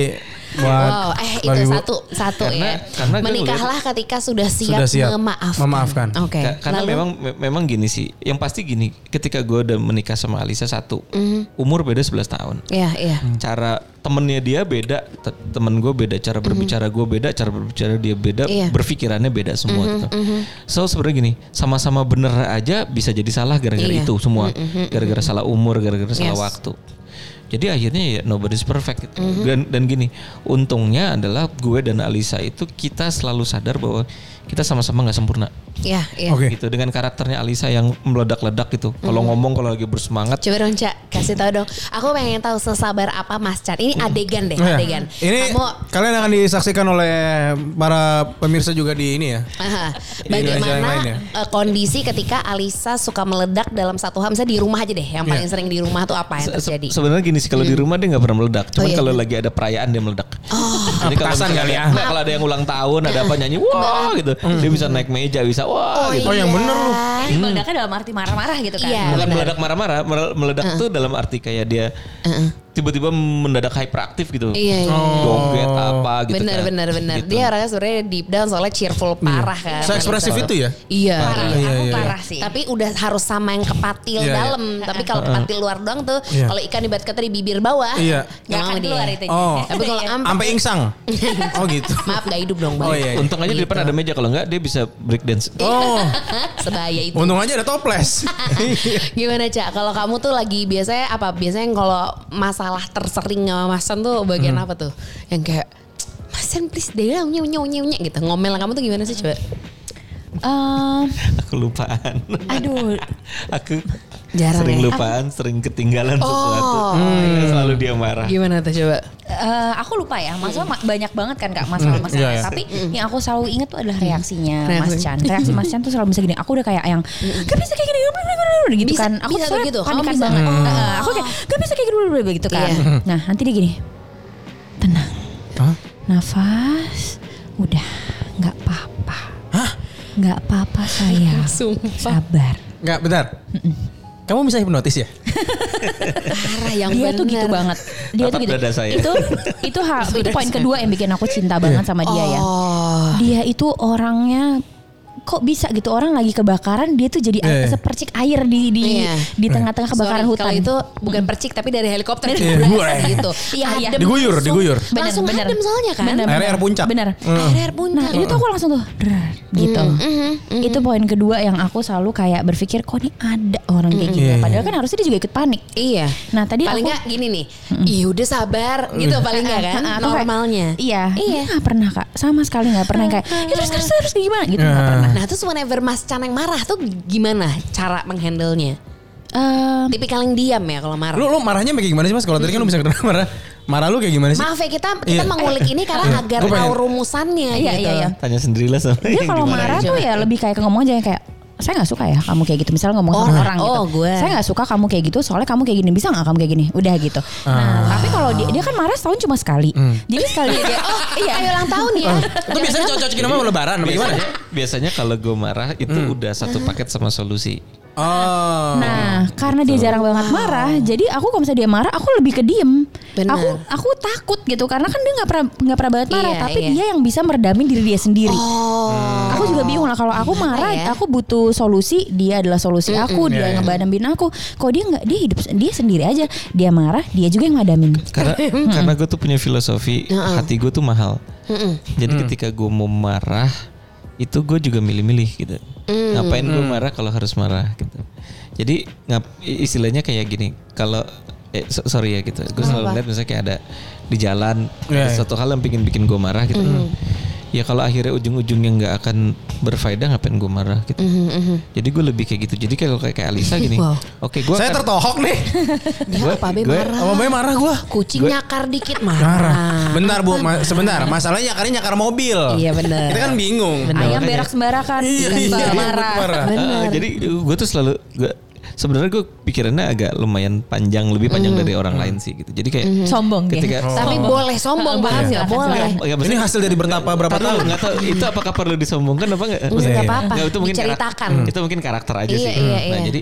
buat Wow, eh itu Babi Bu. satu satu Karena- ya. karena gue Menikahlah ketika sudah siap, Sudah siap memaafkan. memaafkan. Oke. Ka- karena lalu- memang me- memang gini sih, yang pasti gini, ketika gue udah menikah sama Alisa satu, Mhm. umur beda 11 tahun. Iya, iya. Cara temennya dia beda, te- temen gue beda, cara berbicara gue beda, cara berbicara dia beda, Mhm. Iya. Mhm, berpikirannya beda semua gitu. So sebenarnya gini, sama-sama bener aja bisa jadi salah gara-gara Iya. mhm. itu semua, gara-gara salah umur, gara-gara salah Yes. waktu. Jadi akhirnya ya nobody's perfect gitu. Mhm. Dan, dan gini, untungnya adalah gue dan Alisa itu kita selalu sadar bahwa kita sama-sama nggak sempurna Iya, iya. Oke. gitu dengan karakternya Alisa yang meledak-ledak gitu. Kalau Hmm. ngomong kalau lagi bersemangat Coba dong Cak, kasih tau dong. Aku pengen tahu sesabar apa Mas Chan. Ini adegan deh, Iya. adegan. Ini kan. Kamu kalian akan disaksikan oleh para pemirsa juga di ini ya. Aha. aja yang Bagaimana lain ya? eh, kondisi ketika Alisa suka meledak dalam satu hal? Misalnya di rumah aja deh, yang Iya. paling sering di rumah tuh apa yang Se- terjadi? sebenarnya gini sih kalau di rumah dia nggak pernah meledak. Cuman Hmm. Oh, iya. Oh, kalau lagi ada perayaan dia meledak. Jadi kalau Petasan misalnya kali ada- ya. Hmm. nggak, kalau ada yang ulang tahun ada apa nyanyi wah gitu. Dia bisa naik meja bisa wah gitu. Oh, yang bener lu. Ini meledaknya dalam arti marah-marah gitu kan. Iya. Bukan benar. meledak marah-marah, mel- meledak tuh dalam arti kayak dia tiba-tiba mendadak hyperaktif gitu. Iya, iya. Joget Oh. apa gitu bener, kan. bener, bener. Gitu. Dia orangnya sebenarnya deep down soalnya cheerful parah kan. Se ekspresif Alisa. Iya. itu ya. Iya. Parah, iya. aku iya, parah sih. Tapi udah harus sama yang kepatil Iya, iya. dalam. Tapi kalau kepatil luar doang tuh, Iya. kalau ikan ibarat kata di bibir bawah, Iya. Gak nggak akan akan keluar dia. itu. Oh. Tapi kalau Iya. ampe, Sampai insang. Oh gitu. maaf nggak hidup dong bang. Oh, iya. Untung aja di depan ada meja kalau nggak dia bisa break dance. Oh, Sebaya itu. untung aja ada toples. Gimana Cak? Kalau kamu tuh lagi biasanya apa? Biasanya kalau masalah tersering sama Mas Sen tuh bagian apa tuh? Yang kayak Mas Sen please deh lah nyew nyew nyew nyew," gitu. Ngomel kamu tuh gimana sih coba? Ehm, Iya. Aku lupaan. aduh, aku Jarang sering ya? lupaan, sering ketinggalan sesuatu. Oh. Makanya Selalu dia marah. Iya. Gimana tuh coba? Eh, aku lupa ya, maksudnya ma- banyak banget kan kak masalah-masalah. Iya, iya. Tapi yang aku selalu ingat tuh adalah reaksinya Mas Reaksi. Chan. Reaksi Mas Chan tuh selalu bisa gini. Aku udah kayak yang gak bisa kayak gini, gini, gini, gini," gitu Bisa- kan. Aku bisa soalnya begitu, kamu panikan bisa. banget. Hmm. Eh, aku kayak gak bisa kayak gini, gini, gini," gitu kan. Iya. Nah nanti dia gini, tenang, Hah? nafas, udah, nggak apa-apa, nggak apa-apa sayang, Sumpah sabar. Enggak, bentar. Kamu bisa hipnotis ya? Kan parah yang dia tuh bener. gitu banget. Dia tuh Tatap gitu. dada saya. Itu itu hal itu poin kedua yang bikin aku cinta banget sama dia ya. Oh. Dia itu orangnya kok bisa gitu orang lagi kebakaran dia tuh jadi Iya. sepercik air di di Iya. di tengah-tengah kebakaran Sorry, hutan. Kalau itu bukan percik tapi dari helikopter Dari- Berasa Iya. gitu. Iya, iya. Adem Diguyur, langsung. diguyur. langsung adem soalnya kan. Bener, Airnya air puncak. Bener. Akhirnya air puncak. Mm-hmm, Nah, itu tuh aku langsung tuh "Drar," gitu. Itu poin kedua yang aku selalu kayak berpikir kok ini ada orang kayak gitu. Iya, iya. Padahal kan harusnya dia juga ikut panik. Iya. Nah, tadi paling aku- nggak gini nih. Iya udah sabar gitu paling nggak kan Heeh, aku kayak, normalnya. Iya. Iya. Iya. Gak pernah kak. Sama sekali gak pernah yang kayak. Ya terus terus terus gimana gitu. Gak Iya. pernah. Nah terus whenever Mas Chan yang marah tuh gimana cara menghandlenya? Ehm, Tipikal yang diam ya kalau marah. Lu lu marahnya kayak gimana sih Mas? Kalau tadi kan lu bisa ketemu marah. Marah lu kayak gimana sih? Maaf ya kita kita Iya. mengulik ini karena Iya. agar Gua pengen- tahu rumusannya Iya, gitu. iya, iya. Tanya sendirilah sama dia yang kalau dimarahin. marah tuh ya lebih kayak ngomong aja yang kayak saya nggak suka ya kamu kayak gitu misalnya ngomong sama Oh, orang gitu oh, gue. saya nggak suka kamu kayak gitu soalnya kamu kayak gini bisa nggak kamu kayak gini udah gitu nah tapi kalau dia, dia kan marah setahun cuma sekali jadi sekali dia oh iya Ayo ulang tahun ya. Itu biasanya cocok-cocokin sama lebaran apa gimana? Biasanya, ya? biasanya kalau gue marah itu udah satu paket sama solusi. Oh. Nah, karena dia jarang banget marah, jadi aku kalau misalnya dia marah, aku lebih ke diem. Benar. Aku aku takut gitu karena kan dia nggak pernah nggak pernah banget marah, Iya, tapi iya. dia yang bisa meredamin diri dia sendiri. Oh. Aku juga bingung lah kalau aku marah, ya. aku butuh solusi, dia adalah solusi Iya, aku, dia iya. yang ngebadamin aku. Kalau dia nggak, dia hidup dia sendiri aja. Dia marah, dia juga yang ngadamin. Karena Hmm. Hmm. karena Hmm, gue tuh punya filosofi hati gue tuh mahal. Jadi ketika gue mau marah itu gue juga milih-milih gitu. Ngapain gue Hmm. marah kalau harus marah gitu. Jadi ngap, istilahnya kayak gini, kalau eh, so- sorry ya gitu. Gue selalu lihat misalnya kayak ada di jalan Iya, ada iya. satu hal yang pingin bikin gue marah gitu. Ya kalau akhirnya ujung-ujungnya nggak akan berfaedah ngapain gue marah gitu. Jadi gue lebih kayak gitu. Jadi kalau kayak kayak Alisa gini. Hmm. Wow. Oke, gue Saya tertohok nih. Dia apa be gue- marah. Sama Bay marah gue. Kucing nyakar dikit Marah. marah. Bentar bu, ma- sebentar. Masalahnya nyakarnya nyakar mobil. Nah. Iya, bener. Kita kan bingung. Ayam berak sembarangan, Iya, ikan iya, bakar iya, marah. marah. Ah, jadi gue tuh selalu gue sebenarnya gue pikirannya agak lumayan panjang lebih panjang dari orang lain sih gitu. Jadi kayak Sombong ya. ketika Oh. Tapi boleh sombong Boleh, banget silakan, nggak silakan. boleh. Nggak, Iya. Ini maksudnya- hasil dari bertapa berapa Nggak tahu, tahun? nggak tahu itu apakah perlu disombongkan apa enggak? Enggak Iya. apa-apa. itu mungkin karak- Hmm. Diceritakan. Hmm. itu mungkin karakter aja Iya, sih. iya, Nah, iya. jadi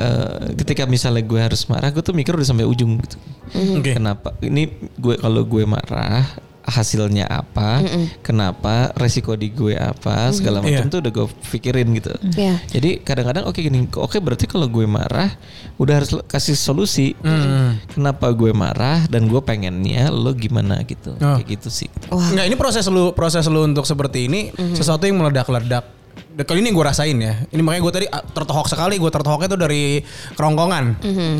eh, ketika misalnya gue harus marah, gue tuh mikir udah sampai ujung gitu. Hmm. Oke. Kenapa? Ini gue kalau gue marah hasilnya apa, kenapa, resiko di gue apa, segala macam Iya. tuh udah gue pikirin gitu. Hmm. Iya. Jadi kadang-kadang oke gini, oke berarti kalau gue marah udah harus lo- kasih solusi. Hmm. Kenapa gue marah dan gue pengennya lo gimana gitu. Oh. Kayak gitu sih. Nggak, ini proses lu proses lu untuk seperti ini Mhm. sesuatu yang meledak-ledak. Dan Kali ini gue rasain ya. Ini makanya gue tadi ah, tertohok sekali. Gue tertohoknya tuh dari kerongkongan. Mhm.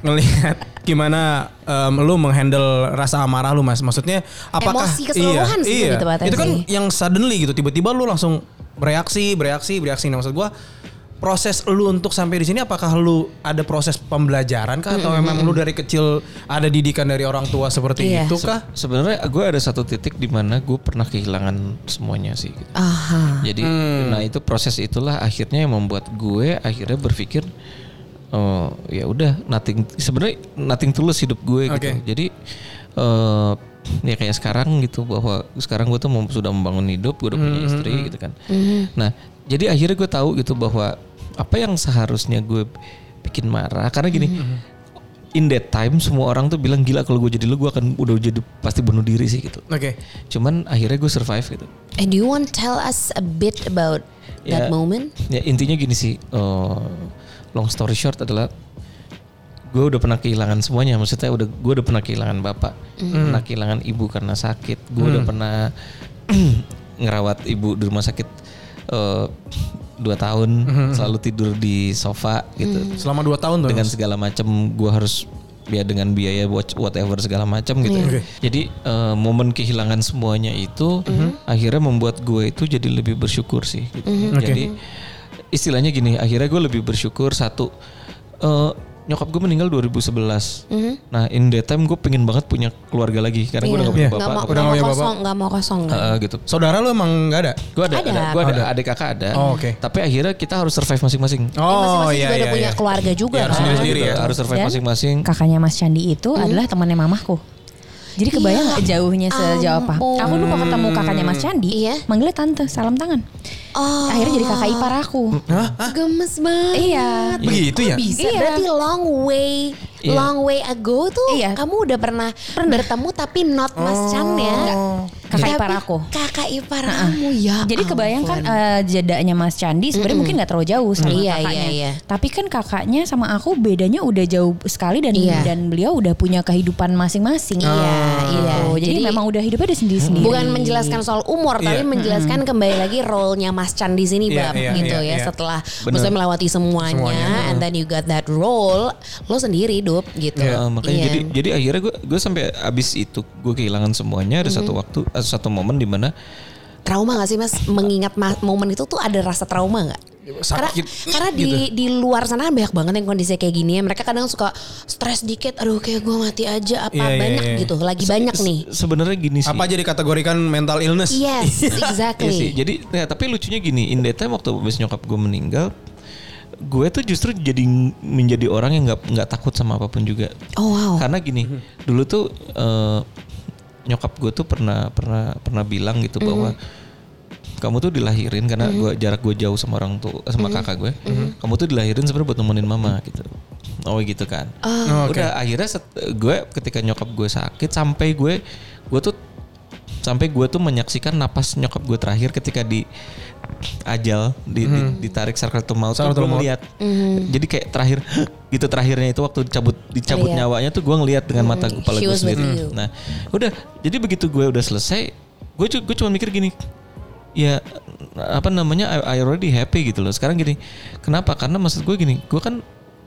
Ngelihat gimana em, lu menghandle rasa amarah lu mas. Maksudnya apakah Emosi keseluruhan iya, sih iya. lebih tepatnya Itu kan sih. yang suddenly gitu. Tiba-tiba lu langsung bereaksi, bereaksi, bereaksi. Nah, maksud gue proses lu untuk sampai di sini apakah lu ada proses pembelajaran kah Mhm. atau memang lu dari kecil ada didikan dari orang tua seperti Iya. itu Se- kah? Sebenarnya gue ada satu titik di mana gue pernah kehilangan semuanya sih. gitu. Aha. Jadi, nah itu proses itulah akhirnya yang membuat gue akhirnya berpikir, oh ya udah, nothing. Sebenarnya nothing tulus hidup gue gitu. Oke. Jadi eh ya kayak sekarang gitu bahwa sekarang gue tuh mem- sudah membangun hidup, gue udah punya istri gitu kan. Nah, jadi akhirnya gue tahu gitu bahwa apa yang seharusnya gue bikin marah karena gini. In that time semua orang tuh bilang gila kalau gue jadi lu gue akan udah jadi pasti bunuh diri sih gitu. Oke. Cuman akhirnya gue survive gitu. And do you want to tell us a bit about Iya. that Ya. moment? Ya intinya gini sih, eh, long story short adalah gue udah pernah kehilangan semuanya. Maksudnya udah gue udah pernah kehilangan bapak, pernah kehilangan ibu karena sakit. Gue udah pernah ngerawat ibu di rumah sakit eh, dua tahun, selalu tidur di sofa gitu Selama dua tahun tuh. dengan Mas? segala macam gue harus ya dengan biaya watch whatever segala macam gitu. ya. Oke. Jadi eh, momen kehilangan semuanya itu Mhm. akhirnya membuat gue itu jadi lebih bersyukur sih. gitu. Jadi istilahnya gini, akhirnya gue lebih bersyukur satu eh, nyokap gue meninggal 2011. Nah in that time gue pengen banget punya keluarga lagi karena gue udah gak punya Mhm. Iya. Nggak bapak. mau, nggak udah nggak mau punya bapak. Ah. kosong, nggak mau kosong. nggak- eh, gitu. Saudara lu emang nggak ada? Gue ada, Ada. ada, gue ada, adik kakak ada. Oh, oke. Tapi akhirnya kita harus survive masing-masing. Oh, Oh, Gitu, masing-masing juga ada punya keluarga juga Iya, harus kan. sendiri-sendiri ya. Harus survive Dan masing-masing. kakaknya Mas Candi itu adalah temannya mamahku. Jadi kebayang Mm-hmm. Iya. nggak jauhnya sejauh apa? Ampun. Aku dulu kalau ketemu kakaknya Mas Candi, Iya. manggilnya tante, salam tangan. Oh, Akhirnya jadi kakak ipar aku. gemes banget. Iya. Begitu ya? Bisa Iya. berarti long way, Iya. long way ago tuh Iya. kamu udah pernah, bertemu tapi not Oh. Mas Chan ya. Kakak Tapi ipar aku. Kakak ipar kamu ya. Jadi kebayangkan ampun. eh, jedanya Mas Candi sebenarnya mungkin nggak terlalu jauh sama Iya, kakaknya. iya, iya. Tapi kan kakaknya sama aku bedanya udah jauh sekali dan Iya. dan beliau udah punya kehidupan masing-masing. Iya, iya. Gitu. Jadi, Jadi- memang udah hidupnya udah sendiri-sendiri. Bukan menjelaskan soal umur, tapi Iya. menjelaskan kembali lagi role-nya Mas Chan di sini, Iya, Bab, iya, gitu iya, ya. iya. Setelah maksudnya melewati semuanya, and then you got that role, lo sendiri, Dup, gitu. Heeh, makanya Iya. jadi jadi akhirnya gue gue sampai abis itu gue kehilangan semuanya ada Mhm. satu waktu ada satu momen di mana trauma gak sih mas mengingat ma- momen itu tuh ada rasa trauma nggak karena, Ya, Sakit, gitu. karena di di luar sana kan banyak banget yang kondisinya kayak gini ya mereka kadang suka stres dikit aduh kayak gue mati aja apa Iya, iya, banyak iya. Iya gitu lagi banyak Se- nih sebenarnya gini sih Apa aja dikategorikan mental illness? yes Iya sih. exactly jadi nah, tapi lucunya gini in that time waktu abis nyokap gue meninggal gue tuh justru jadi menjadi orang yang nggak nggak takut sama apapun juga oh wow karena gini dulu tuh eh, nyokap gue tuh pernah pernah pernah bilang gitu bahwa kamu tuh dilahirin karena gua jarak gue jauh sama orang tua sama kakak gue kamu tuh dilahirin sebenarnya buat nemenin mama gitu oh gitu kan Oh, oke. udah akhirnya set- gue ketika nyokap gue sakit sampai gue gue tuh sampai gue tuh menyaksikan napas nyokap gue terakhir ketika di ajal di, di- ditarik sakratul maut tuh Sakratul gue maut. ngeliat Mhm. Hmm. jadi kayak terakhir gitu terakhirnya itu waktu dicabut dicabut Ngeliat. nyawanya tuh gue ngeliat dengan mata kepala Iya. Hmm. He gue was with sendiri you. Nah, udah. Jadi begitu gue udah selesai, gue cu- gue cuma mikir gini, ya apa namanya I, I already happy gitu loh. Sekarang gini, kenapa? Karena maksud gue gini, gue kan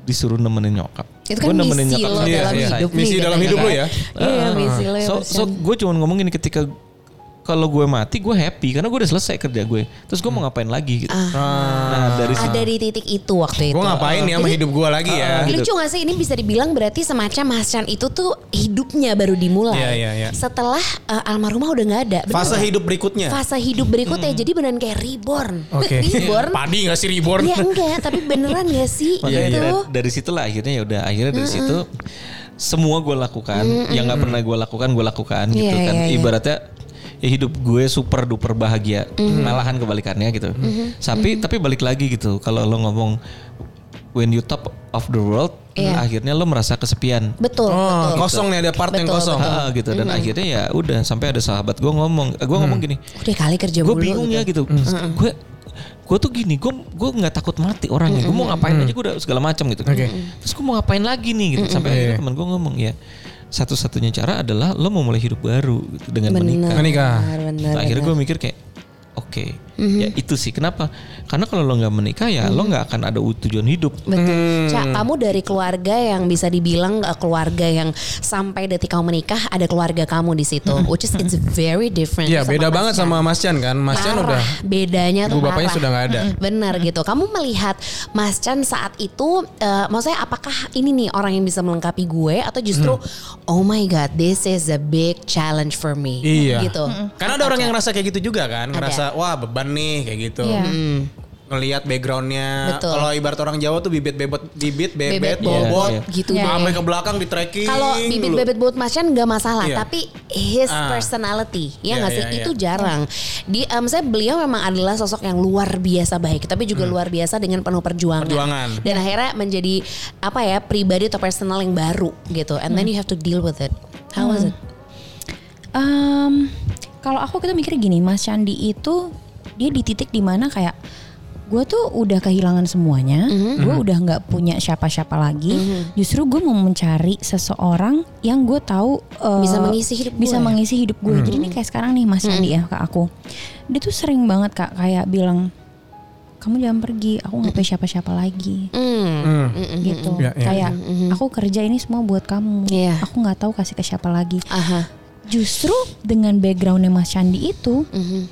disuruh nemenin nyokap. Itu Gue kan nemenin misi nyokap lo sampai dalam ya. selesai. hidup nih Misi dalam katanya hidup lo kan. ya? Ah. Iya misi lo ya Ah. So, so Marcel. gue cuman ngomong gini ketika kalau gue mati gue happy karena gue udah selesai kerja gue. Terus gue mau ngapain Ah. lagi gitu. Nah, dari situ Ada di titik itu waktu itu Gue ngapain ya sama hidup gue lagi ya. gitu. Lucu gak sih ini bisa dibilang berarti semacam Mas Chan itu tuh hidupnya baru dimulai. Iya, iya, iya. Setelah eh, almarhumah udah nggak ada. Bener Fase nggak? hidup berikutnya. Fase hidup berikutnya jadi beneran kayak reborn. Ya. Hmm. Oke. reborn. Padi gak sih reborn? Ya enggak, tapi beneran gak sih Iya, gitu. Makanya itu? dari, dari situlah akhirnya ya udah akhirnya dari situ semua gue lakukan yang nggak pernah gue lakukan gue lakukan gitu Iya, kan iya, iya. ibaratnya ya hidup gue super duper bahagia malahan kebalikannya gitu tapi tapi balik lagi gitu kalau lo ngomong when you top of the world akhirnya lo merasa kesepian Iya. Betul, Oh, betul. kosong nih ada part yang Betul, kosong. Ah, gitu dan akhirnya ya udah sampai ada sahabat gue ngomong eh, gue Mm. ngomong gini Udah kali kerja gue mulu bingung gitu. ya gitu gue gue tuh gini gue gue nggak takut mati orangnya gue mau Hmm. ngapain aja gue udah segala macam gitu terus gue mau ngapain lagi nih gitu Hmm. sampai Iya. akhirnya teman gue ngomong ya satu-satunya cara adalah lo mau mulai hidup baru gitu, dengan menikah Menikah. Benar, benar, Hmm. akhirnya gue mikir kayak oke ya itu sih kenapa karena kalau lo nggak menikah ya lo nggak akan ada tujuan hidup Betul. Hmm. Ca, kamu dari keluarga yang bisa dibilang eh, keluarga yang sampai detik kamu menikah ada keluarga kamu di situ, which is it's very different. Hmm. Iya beda Mas banget Chan. sama Mas Chan kan. Mas Chan Parah, udah bedanya tuh Ibu bapaknya parah. sudah nggak ada. Benar Hmm. gitu. Kamu melihat Mas Chan saat itu eh, maksudnya apakah ini nih orang yang bisa melengkapi gue atau justru Hmm. oh my god this is a big challenge for me. Iya. Gitu. Karena ada orang yang ngerasa kayak gitu juga kan, ngerasa wah beban nih kayak gitu. Iya. Ngelihat backgroundnya, Betul. kalau ibarat orang Jawa tuh bibit bebot, bibit Bebet bebet, bobot, bobot, gitu deh. Sampai ke belakang di trekking. Kalau bibit-bibit buat Mas Chan nggak masalah, Iya. tapi his Ah. personality ya Iya, nggak sih iya, itu iya. jarang. Di em, saya beliau memang adalah sosok yang luar biasa baik, tapi juga luar biasa dengan penuh perjuangan. Hmm. Perjuangan. Hmm. Dan akhirnya menjadi apa ya pribadi atau personal yang baru gitu. And Hmm. then you have to deal with it. How was it? Um, kalau aku kita mikir gini, Mas Candi itu dia di titik dimana kayak gue tuh udah kehilangan semuanya, Mm-hmm. gue udah nggak punya siapa-siapa lagi. Justru gue mau mencari seseorang yang gue tahu uh, Bisa mengisi hidup bisa gue. mengisi hidup gue. Jadi ini kayak sekarang nih Mas Candi ya ke aku, dia tuh sering banget kak kayak bilang kamu jangan pergi, aku nggak punya siapa-siapa lagi Hmm. gitu. Ya, ya. Kayak aku kerja ini semua buat kamu, Iya. aku nggak tahu kasih ke siapa lagi Aha. justru dengan backgroundnya Mas Candi itu Mm. Mhm.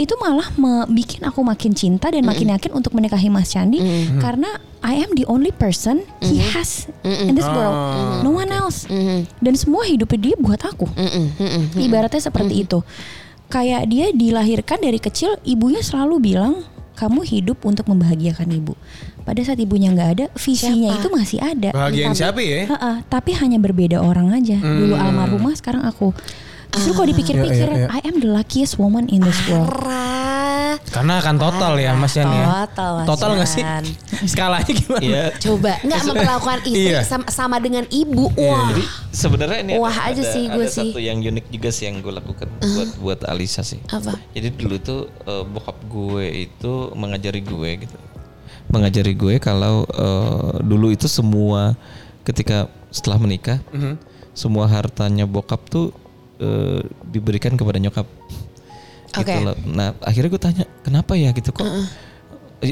itu malah me- bikin aku makin cinta dan makin yakin untuk menikahi Mas Candi karena I am the only person he has in this world no one else Mm. Mhm. dan semua hidupnya dia buat aku Mm-mm, mm-mm. ibaratnya seperti itu kayak dia dilahirkan dari kecil ibunya selalu bilang kamu hidup untuk membahagiakan ibu pada saat ibunya nggak ada visinya Siapa? itu masih ada Bahagian Tapi- siapa ya? Heeh, tapi hanya berbeda orang aja. Dulu almarhumah, sekarang aku. Ah. Justru kalau dipikir-pikir, Mm. Iya, iya, I am the luckiest woman in this world. Parah. Karena akan total ya Mas Chan ya. Iya. Total, Mas Total nggak sih? Chan. Skalanya gimana? ya Coba nggak memperlakukan istri Iya. sama, sama dengan ibu. Wah. Eh, jadi sebenarnya ini Wah aja sih gue ada sih. Eh. satu yang unik juga sih yang gue lakukan buat buat Alisa sih Apa? Jadi dulu tuh eh, bokap gue itu mengajari gue gitu. Mengajari gue kalau eh, dulu itu semua ketika setelah menikah semua hartanya bokap tuh eh, diberikan kepada nyokap. Gitu Oke. loh. Nah, akhirnya gue tanya, "Kenapa ya gitu kok?" Eh,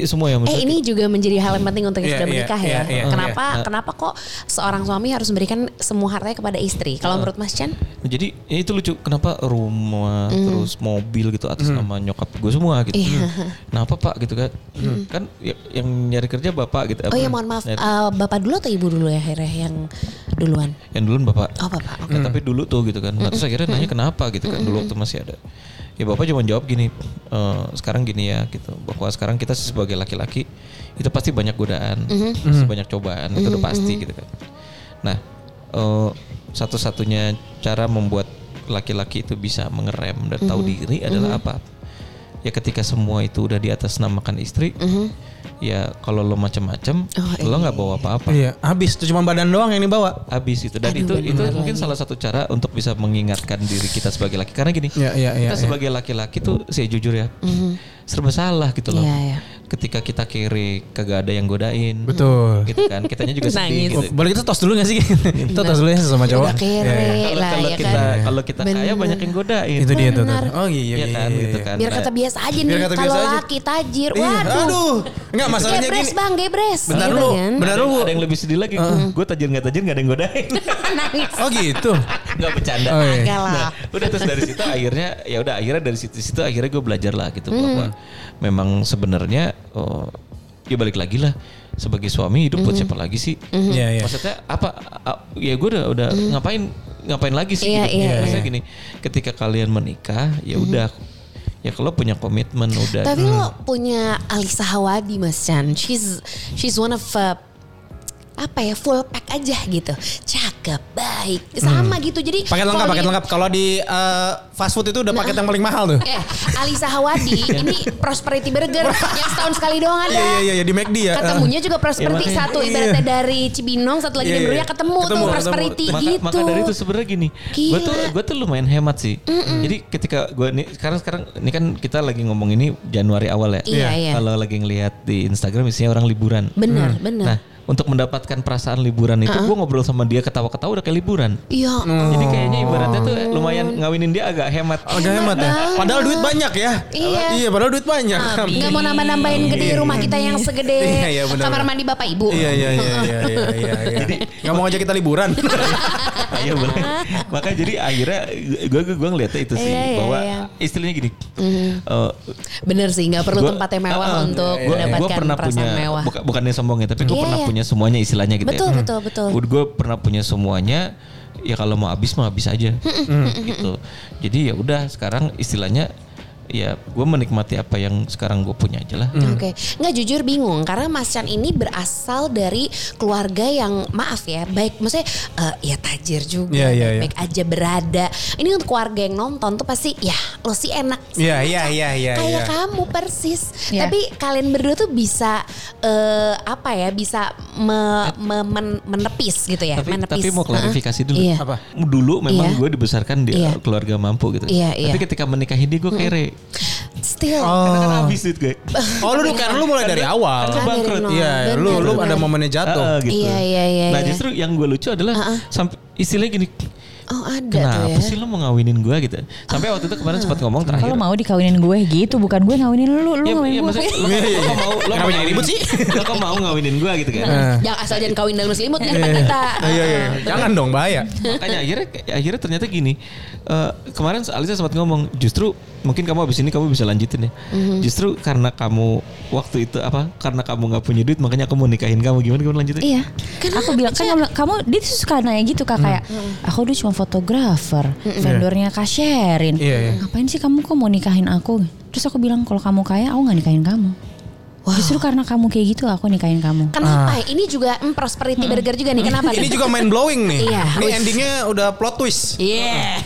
Semua yang Eh ini juga menjadi hal yang penting untuk yang Iya, sudah iya, menikah iya, ya. iya, kenapa kenapa kok seorang suami harus memberikan semua hartanya kepada istri? Iya. Kalau menurut Mas Chan? Jadi ya itu lucu kenapa rumah Hmm. terus mobil gitu atas nama nyokap gue semua gitu. Iya. Kenapa Pak gitu kan? Kan ya- yang nyari kerja Bapak Iya. gitu. Hmm. Oh ya mohon maaf, eh, bapak dulu atau ibu dulu ya akhirnya yang duluan? Yang duluan Bapak. Oh bapak. Iya, oke. Ya, tapi dulu tuh gitu kan. Nah, terus akhirnya nanya kenapa gitu kan dulu waktu masih ada. Ya Bapak cuma jawab gini, "Eh, sekarang gini ya gitu. Bahwa sekarang kita sebagai laki-laki itu pasti banyak godaan, pasti banyak cobaan, itu udah pasti gitu kan. Nah, eh, satu-satunya cara membuat laki-laki itu bisa mengerem dan tahu diri adalah apa? Ya ketika semua itu udah di atas namakan istri, ya kalau lo macam-macam, lo nggak bawa apa-apa Iya, habis tuh cuma badan doang yang dibawa. habis itu dan itu itu mungkin salah satu cara untuk bisa mengingatkan diri kita sebagai laki karena gini Iya, Mm-hmm. iya, iya, kita iya. sebagai laki-laki tuh saya jujur ya serba salah gitu loh Iya, iya. ketika kita kiri kagak ada yang godain. Betul. Gitu kan. Kitanya juga sedih Nangis. gitu. Boleh kita tos dulu gak sih? kita tos dulu ya sama Udah cowok. kere Iya, iya. Kalau lah kalau ya kita kan. kalau kita kaya Bener. banyak yang godain. Itu dia tuh. tuh. Benar. Oh iya iya Iya kan iya, gitu iya. kan. Biar kata biasa aja nih Biar kata kalau biasa aja. laki tajir. Iya, Waduh. Aduh. Enggak masalahnya gebres gini. bang, gebres. Bentar Gitu dulu. kan. Bentar Uh-uh. Ada yang- dulu. Ada yang lebih sedih lagi. Gue tajir nggak tajir nggak ada yang godain. Nangis. Oh gitu. Gak bercanda. Oh, iya. Agak lah. Nah, udah terus dari situ akhirnya ya udah akhirnya dari situ situ akhirnya gue belajar lah gitu bahwa Hmm. memang sebenarnya oh, ya balik lagi lah sebagai suami hidup buat Hmm. siapa lagi sih? Iya iya. Maksudnya apa? a- Ya gue udah udah ngapain ngapain lagi sih? Hmm. Iya, gitu. iya, Hmm. Maksudnya gini, ketika kalian menikah ya udah ya kalau punya komitmen udah. Tapi lo Hmm. punya Alisa Hawadi Mas Chan. She's she's one of uh, apa ya full pack aja gitu. Cakep, baik, sama gitu. Jadi Hmm. Paket kalau lengkap, paket di- lengkap. Kalau di eh, fast food itu udah Nah. paket yang paling mahal tuh. Eh, Alisa Hawadi ini Prosperity Burger yang setahun sekali doang ada. Iya iya iya, iya di McD ya. Ketemunya juga Prosperity Iya, makanya. satu Iya. ibaratnya dari Cibinong, satu lagi Iya, dari iya. Meruya ketemu, Ketemu, tuh ketemu. Prosperity Maka- gitu. Maka dari itu sebenarnya gini, Gila. gue tuh gue tuh lumayan hemat sih. Jadi ketika gue nih sekarang sekarang ini kan kita lagi ngomong ini Januari awal ya. Iya, iya. Mm. Kalau lagi ngelihat di Instagram isinya orang liburan. Benar, Hmm. benar. Nah untuk mendapatkan perasaan liburan itu gue ngobrol sama dia ketawa-ketawa udah kayak liburan. Iya. Hmm. Jadi kayaknya ibaratnya tuh lumayan ngawinin dia agak hemat. Oh, Agak hemat ya. banget. Padahal duit banyak ya. Iya. Iya, padahal duit banyak. Nggak mau nambah-nambahin gede rumah kita yang segede Iya, iya, benar. kamar mandi bapak ibu. Iya iya iya iya iya iya. Jadi nggak mau ngajak kita liburan. Iya boleh. Maka jadi akhirnya gue gue ngeliatnya itu sih Iya, iya, bahwa iya. Mm-hmm. istilahnya gini. eh, Bener sih, nggak perlu Gua- tempat yang mewah Heeh. untuk Gua- mendapatkan gua pernah perasaan punya, mewah. buka- bukannya sombong ya, tapi gue Iya, pernah iya. punya semuanya istilahnya gitu Betul, ya. betul, betul. Gue pernah punya semuanya. Ya kalau mau habis mau habis aja. Hmm, gitu. Jadi ya udah sekarang istilahnya ya gue menikmati apa yang sekarang gue punya aja lah. Oke, nggak jujur bingung karena Mas Chan ini berasal dari keluarga yang maaf ya, baik maksudnya eh, ya tajir juga, Iya, iya, iya. baik aja berada. Ini untuk keluarga yang nonton tuh pasti ya lo sih enak. sih, Iya iya iya iya. kayak iya. kamu persis. Iya. Tapi kalian berdua tuh bisa eh, apa ya? Bisa me- me- men- menepis gitu ya, Tapi, menepis. tapi mau klarifikasi dulu. Iya. Apa? Dulu Iya. memang gue dibesarkan di Iya. keluarga mampu gitu. Iya, iya. Hmm. Tapi ketika menikahi dia gue kere. Still. Karena kan habis duit gue. Oh lu bukan lu mulai dari awal. Kan dari bangkrut. nol. Iya, Bener, lu lu bener. ada momennya Ah, jatuh. gitu. Iya, iya, iya, Nah iya. Ah, justru yang gue lucu adalah sampai istilahnya gini, Oh ada tuh ya. kenapa sih lo mau ngawinin gue gitu? Sampai waktu itu kemarin sempat ngomong terakhir. Kalau mau dikawinin gue gitu, bukan gue ngawinin lu, Iya, lu Ya, ngawinin ya, gue. maksudnya lo, lo kok mau lo Kenapa mau jadi ribut ngawinin- Lo kok mau ngawinin gue gitu kan? Jangan asal jangan kawin dalam selimut di depan kita. Nah. Iya iya. Jangan dong bahaya. Makanya akhirnya akhirnya ternyata gini. eh, kemarin Alisa sempat ngomong, justru mungkin kamu abis ini kamu bisa lanjutin ya. Justru karena kamu waktu itu apa? Karena kamu nggak punya duit, makanya aku mau nikahin kamu. Gimana kamu lanjutin? gitu. Iya. aku bilang kan kamu, kamu dia tuh suka nanya gitu kak kayak Hmm. aku dulu cuma fotografer, vendornya Kak Sherin. Iya, iya. Ngapain sih kamu kok mau nikahin aku? Terus aku bilang kalau kamu kaya aku nggak nikahin kamu. Justru karena kamu kayak gitu aku nikahin kamu. Kenapa? Ini juga mm, prosperity burger juga nih. Kenapa? Ah. Hmm. Ini nih? juga mind blowing nih. Iya. Ini endingnya udah plot twist. Iya.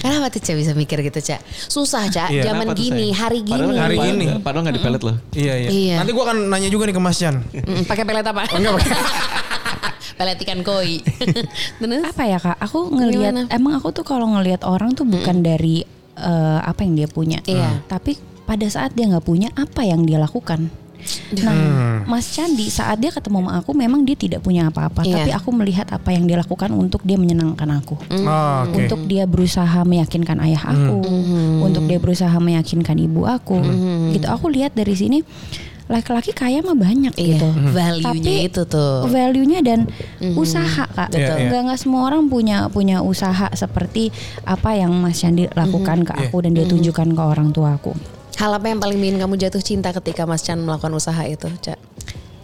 Kenapa tuh Cak bisa mikir gitu Cak? Susah Cak. Iya, Zaman Kenapa tuh, gini, sayang? hari Padahal gini. nggak Hari dipelet, gini. Padahal nggak dipelet loh. Iya Iya. iya. Nanti gua akan nanya juga nih ke Mas Jan. Mm, Pakai pelet apa? Oh, Enggak pakai. pelet ikan koi. Terus? Apa ya kak? Aku ngelihat Gimana? emang aku tuh kalau ngelihat orang tuh bukan dari eh, apa yang dia punya, Iya. tapi pada saat dia nggak punya apa yang dia lakukan. Nah, Mas Candi saat dia ketemu sama aku memang dia tidak punya apa-apa, Iya. tapi aku melihat apa yang dia lakukan untuk dia menyenangkan aku. Mm. Oh, Oke. Untuk dia berusaha meyakinkan ayah aku, Mm-hmm. untuk dia berusaha meyakinkan ibu aku. Gitu aku lihat dari sini laki-laki kaya mah banyak Iya, gitu. Hmm. value-nya Tapi itu tuh. Eh, Value-nya dan usaha, Kak. Betul. Iya, iya. Nggak- nggak semua orang punya punya usaha seperti apa yang Mas Candi lakukan Iya. ke aku dan dia tunjukkan ke orang tua aku. Hal apa yang paling bikin kamu jatuh cinta ketika Mas Chan melakukan usaha itu Cak?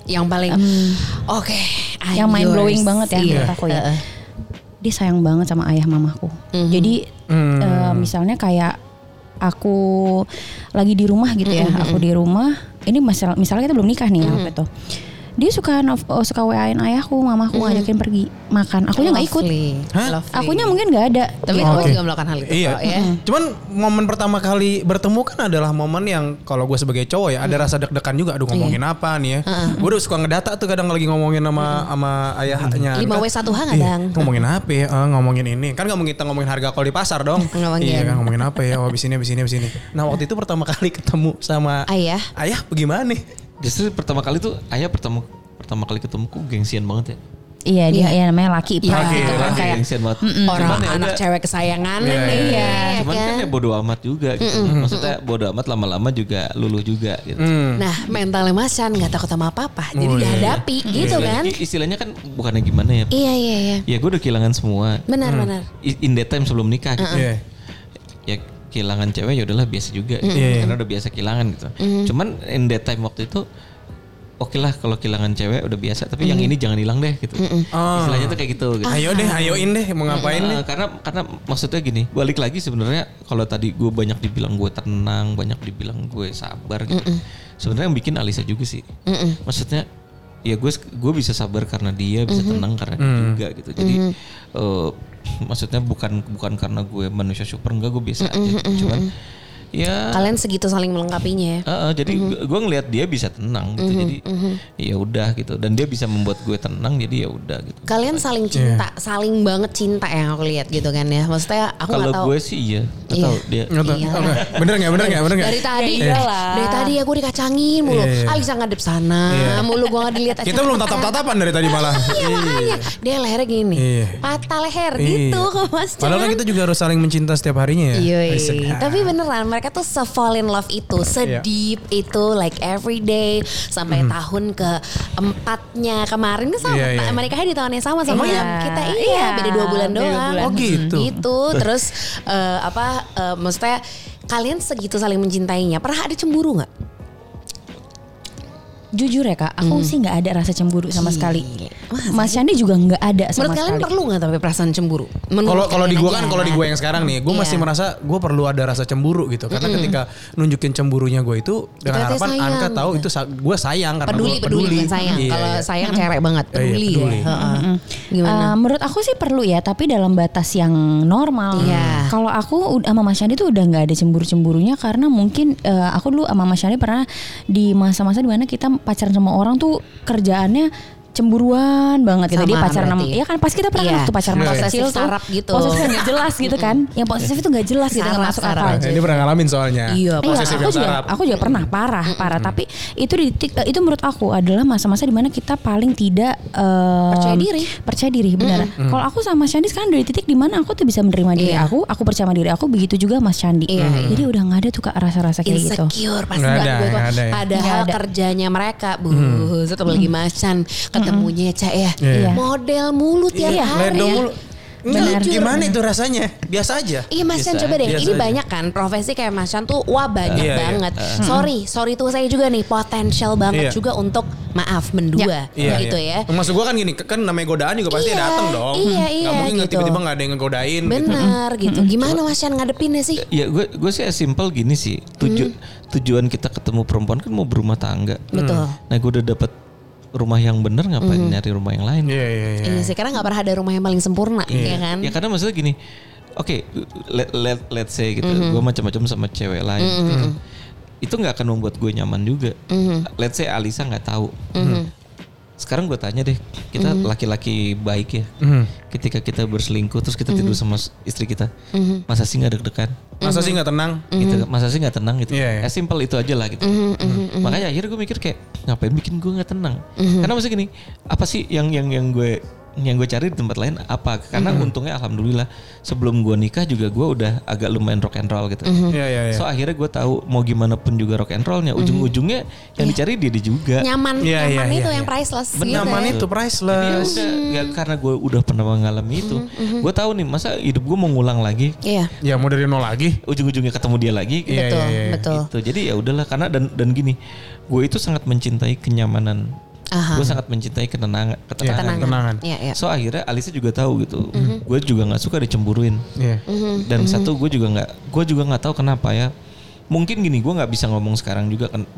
Yang paling oke. I'm yang mind blowing yours. banget ya Iya. menurut aku ya. Heeh. Dia sayang banget sama ayah mamaku. Jadi Hmm. eh, misalnya kayak aku lagi di rumah gitu ya, aku di rumah. Ini masalah misalnya kita belum nikah nih waktu itu. dia suka nov- oh, suka WA-in ayahku, mamaku ngajakin pergi makan. Akunya nggak ikut. Akunya mungkin nggak ada. Oh, Tapi Gitu. kamu Oke. juga Oh, melakukan hal itu Iya. kok, ya. Cuman momen pertama kali bertemu kan adalah momen yang kalau gue sebagai cowok ya ada rasa deg-degan juga. Aduh ngomongin Iya. apa nih ya? Gue udah suka ngedata tuh kadang lagi ngomongin sama sama ayahnya. 5W1H Iya, kadang. ngomongin apa ya? Eh, ngomongin ini. Kan nggak mungkin kita ngomongin harga kol di pasar dong. Ngomongin. Iya kan ngomongin apa ya? Oh, abis ini, abis ini, abis ini. Nah waktu itu pertama kali ketemu sama Ayah. Ayah bagaimana nih? Justru pertama kali tuh ayah pertama pertama kali ketemu ku gengsian banget ya. Iya dia ya namanya laki ipar Laki, gitu kan Laki, kayak gengsian banget. Orang Cuman ya anak udah. cewek kesayangan nih. Iya, ya cuman kan kan? ya bodo amat juga gitu. Maksudnya bodo amat lama-lama juga luluh juga gitu. Hmm. Nah mentalnya Mas Chan gak takut sama Oh, apa-apa. iya, Jadi dihadapi gitu kan. Istilahnya- Istilahnya kan bukannya gimana ya. Iya, iya, iya. Ya gue udah kehilangan semua. Benar, Mm. benar. I- In the time sebelum nikah Nah. gitu. Iya. Ya kehilangan cewek ya udahlah biasa juga. gitu. Iya, iya. Karena udah biasa kehilangan gitu. Cuman in the time waktu itu Oke lah kalau kehilangan cewek udah biasa, tapi yang ini jangan hilang deh gitu. Ah. Istilahnya tuh kayak gitu. gitu. Ayo deh, ayoin deh, mau ngapain Eh, Iya. nih? karena karena maksudnya gini balik lagi sebenarnya kalau tadi gue banyak dibilang gue tenang banyak dibilang gue sabar gitu sebenarnya yang bikin Alisa juga sih maksudnya ya gue gue bisa sabar karena dia bisa Mm-hmm. tenang karena dia juga gitu jadi eh, maksudnya bukan bukan karena gue manusia super enggak gue biasa aja gitu. cuman ya Kalian segitu saling melengkapinya ya. eh, eh, jadi gue ngelihat dia bisa tenang gitu Mm-hmm, jadi ya udah gitu dan dia bisa membuat gue tenang jadi ya udah gitu Kalian saling Iya. cinta, saling banget cinta yang aku lihat gitu kan ya. Maksudnya aku nggak tahu. kalau gue sih iya nggak Iya. tahu dia Nggak tahu. Oke. Bener nggak? Bener nggak? Bener nggak? dari tadi Iya, Iya. Ya iyalah. dari tadi aku dikacangin mulu Iya, iya. Alisa ngadep sana mulu gua nggak dilihat Kita belum tatap-tatapan dari tadi malah. Iya makanya dia lehernya gini Iya. patah leher Iya. gitu ke Mas Padahal kan Chan. kita juga harus saling mencinta setiap harinya ya. Yoi. Eh, sedap. Iya, Tapi beneran mereka tuh se fall in love itu Iya. sedip itu like every day sampai tahun ke empatnya kemarin kan sama Mm-hmm. Iya, iya. mereka di tahun yang sama sama Emang ya? yang kita iya Iya, beda dua bulan beda dua doang. bulan. Oh, gitu. Gitu terus eh, apa eh, maksudnya kalian segitu saling mencintainya pernah ada cemburu nggak? jujur ya kak, Hmm. aku sih nggak ada rasa cemburu Iya. sama sekali. Mas Candi juga nggak ada sama Menurut kalian sekali. perlu nggak tapi perasaan cemburu? Menurut Kalau kalau di kalian gua aja. kan kalau di gua yang sekarang nih, gua Iya. masih merasa gua perlu ada rasa cemburu gitu. Karena ketika nunjukin cemburunya gua itu dengan Ternyata harapan sayang, Anka tahu gitu. itu sa- gua sayang karena peduli gua peduli, bukan sayang. Iya, kalau iya. sayang cerek banget Iya, iya, peduli, peduli. ya. Heeh. Gimana? Eh, menurut aku sih perlu ya, tapi dalam batas yang normal. Iya. Kalau aku ud- sama Mas Yandi tuh udah nggak ada cemburu-cemburunya karena mungkin eh, aku dulu sama Mas Yandi pernah di masa-masa dimana kita pacaran sama orang tuh kerjaannya cemburuan banget gitu. Sama Dia pacaran sama, berarti. iya kan pas kita pernah Iya. waktu pacaran sama Posesif kecil tuh. sarap gitu. Posesif nggak jelas gitu kan. Yang posesif itu nggak jelas gitu, nggak Sarap, masuk sarap. akal. Nah, Ini pernah ngalamin soalnya. Iya, Iya, Posesif aku yang juga, sarap. aku juga pernah parah, parah. Tapi itu di titik eh, itu menurut aku adalah masa-masa dimana kita paling tidak em, Percaya diri. percaya diri benar. Kalau aku sama Mas Candi sekarang dari titik dimana aku tuh bisa menerima diri Iya. aku, aku percaya sama diri aku, begitu juga Mas Candi. Iya, iya. Jadi udah nggak ada tuh kak rasa-rasa kayak gitu. insecure pasti Nggak ada, gue tuh. nggak ada ya. Hmm. Padahal Nggak ada. Hmm. kerjanya mereka bu satu lagi macan ketemunya Ca ya Iya. model mulu tiap Iya. hari Ledo ya. mulu. Benar. Enggak, gimana itu rasanya? Biasa aja. Iya Mas Chan Biasa coba deh, aja. ini Biasa aja. banyak kan profesi kayak Mas Chan tuh wah banyak Iya, iya. banget. Sorry, sorry tuh saya juga nih potensial banget Iya. juga untuk maaf Iya, mendua gitu ya. Maksud gua kan gini, kan namanya godaan juga pasti Iya, datang dong. iya, Nggak iya, mungkin gitu. tiba-tiba nggak ada yang ngegodain gitu. Benar Hmm. gitu. Gimana Mas Chan ngadepinnya sih? Ya gue gue sih simple gini sih tuju tujuan kita ketemu perempuan kan mau berumah tangga. Betul. Nah gue udah dapet rumah yang bener ngapain nyari rumah yang lain? Iya, iya, iya. Iya sih, karena nggak pernah ada rumah yang paling sempurna, ya kan? Ya karena maksudnya gini, oke let let let's say gitu, gue macam-macam sama cewek lain. gitu. Itu nggak akan membuat gue nyaman juga. Let's say Alisa nggak tahu. Sekarang gue tanya deh, kita laki-laki baik ya. Ketika kita berselingkuh terus kita tidur sama s- istri kita, masa sih nggak deg-degan? Masa sih nggak tenang? gitu masa sih nggak tenang gitu Mhm. Iya, Mhm, iya. as simple itu aja lah gitu makanya akhirnya gue mikir kayak ngapain bikin gue nggak tenang Mhm. karena maksudnya gini apa sih yang yang yang gue yang gue cari di tempat lain apa karena Mhm. untungnya alhamdulillah sebelum gue nikah juga gue udah agak lumayan rock and roll gitu Iya, iya, iya. so akhirnya gue tahu mau gimana pun juga rock and rollnya Mhm. ujung-ujungnya yang dicari diri juga Nyaman, Iya, nyaman iya, itu iya, yang iya. priceless. gitu ya. Nyaman itu Jadi ya priceless. udah, ya karena gue udah pernah mengalami itu Mhm, gue tahu nih masa hidup gue mau ngulang lagi Iya, Ya mau dari nol lagi. ujung-ujungnya ketemu dia lagi Iya, betul, iya, iya. betul. Gitu. Jadi ya udahlah karena dan dan gini, gue itu sangat mencintai kenyamanan. Aha. Ya. Gue sangat mencintai ketenangan, Iya, ketenangan. tenangan. Iya, iya. So akhirnya Alisa juga tahu gitu. Mhm. Gue juga nggak suka dicemburuin. Iya. Dan satu gue juga nggak, gue juga nggak tahu kenapa ya. Mungkin gini, gue nggak bisa ngomong sekarang juga kan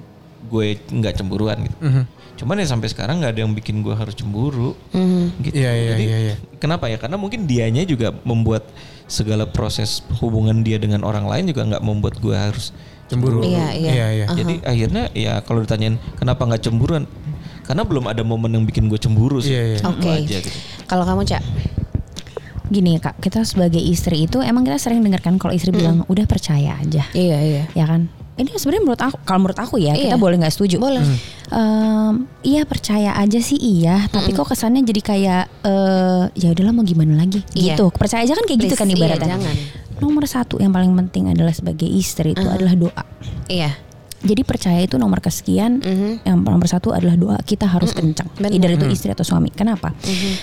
gue nggak cemburuan gitu. Mhm. Cuman ya sampai sekarang nggak ada yang bikin gue harus cemburu. Hmm, Gitu. Iya, iya, Jadi iya, iya. kenapa ya? Karena mungkin dianya juga membuat segala proses hubungan dia dengan orang lain juga nggak membuat gue harus Cemburu. Iya, iya. Iya, iya. jadi akhirnya ya kalau ditanyain kenapa nggak cemburuan? Karena belum ada momen yang bikin gue cemburu sih. Iya, iya. Cuma Oke. aja gitu. Kalau kamu Cak, Gini kak, kita sebagai istri itu emang kita sering dengarkan kalau Mm. istri bilang udah percaya aja, iya iya. ya kan? Ini sebenarnya menurut aku, kalau menurut aku ya Iya. kita boleh nggak setuju. Boleh. Em, iya percaya aja sih iya, Hmm. tapi kok kesannya jadi kayak eh ya udahlah mau gimana lagi Iya. gitu. Percaya aja kan kayak gitu Please, kan iya, ibaratnya. jangan. Nomor satu yang paling penting adalah sebagai istri itu adalah doa. Iya. Jadi percaya itu nomor kesekian, yang nomor satu adalah doa kita harus kencang, Mm-hmm. Benar. Mm-hmm. either itu istri atau suami. Kenapa?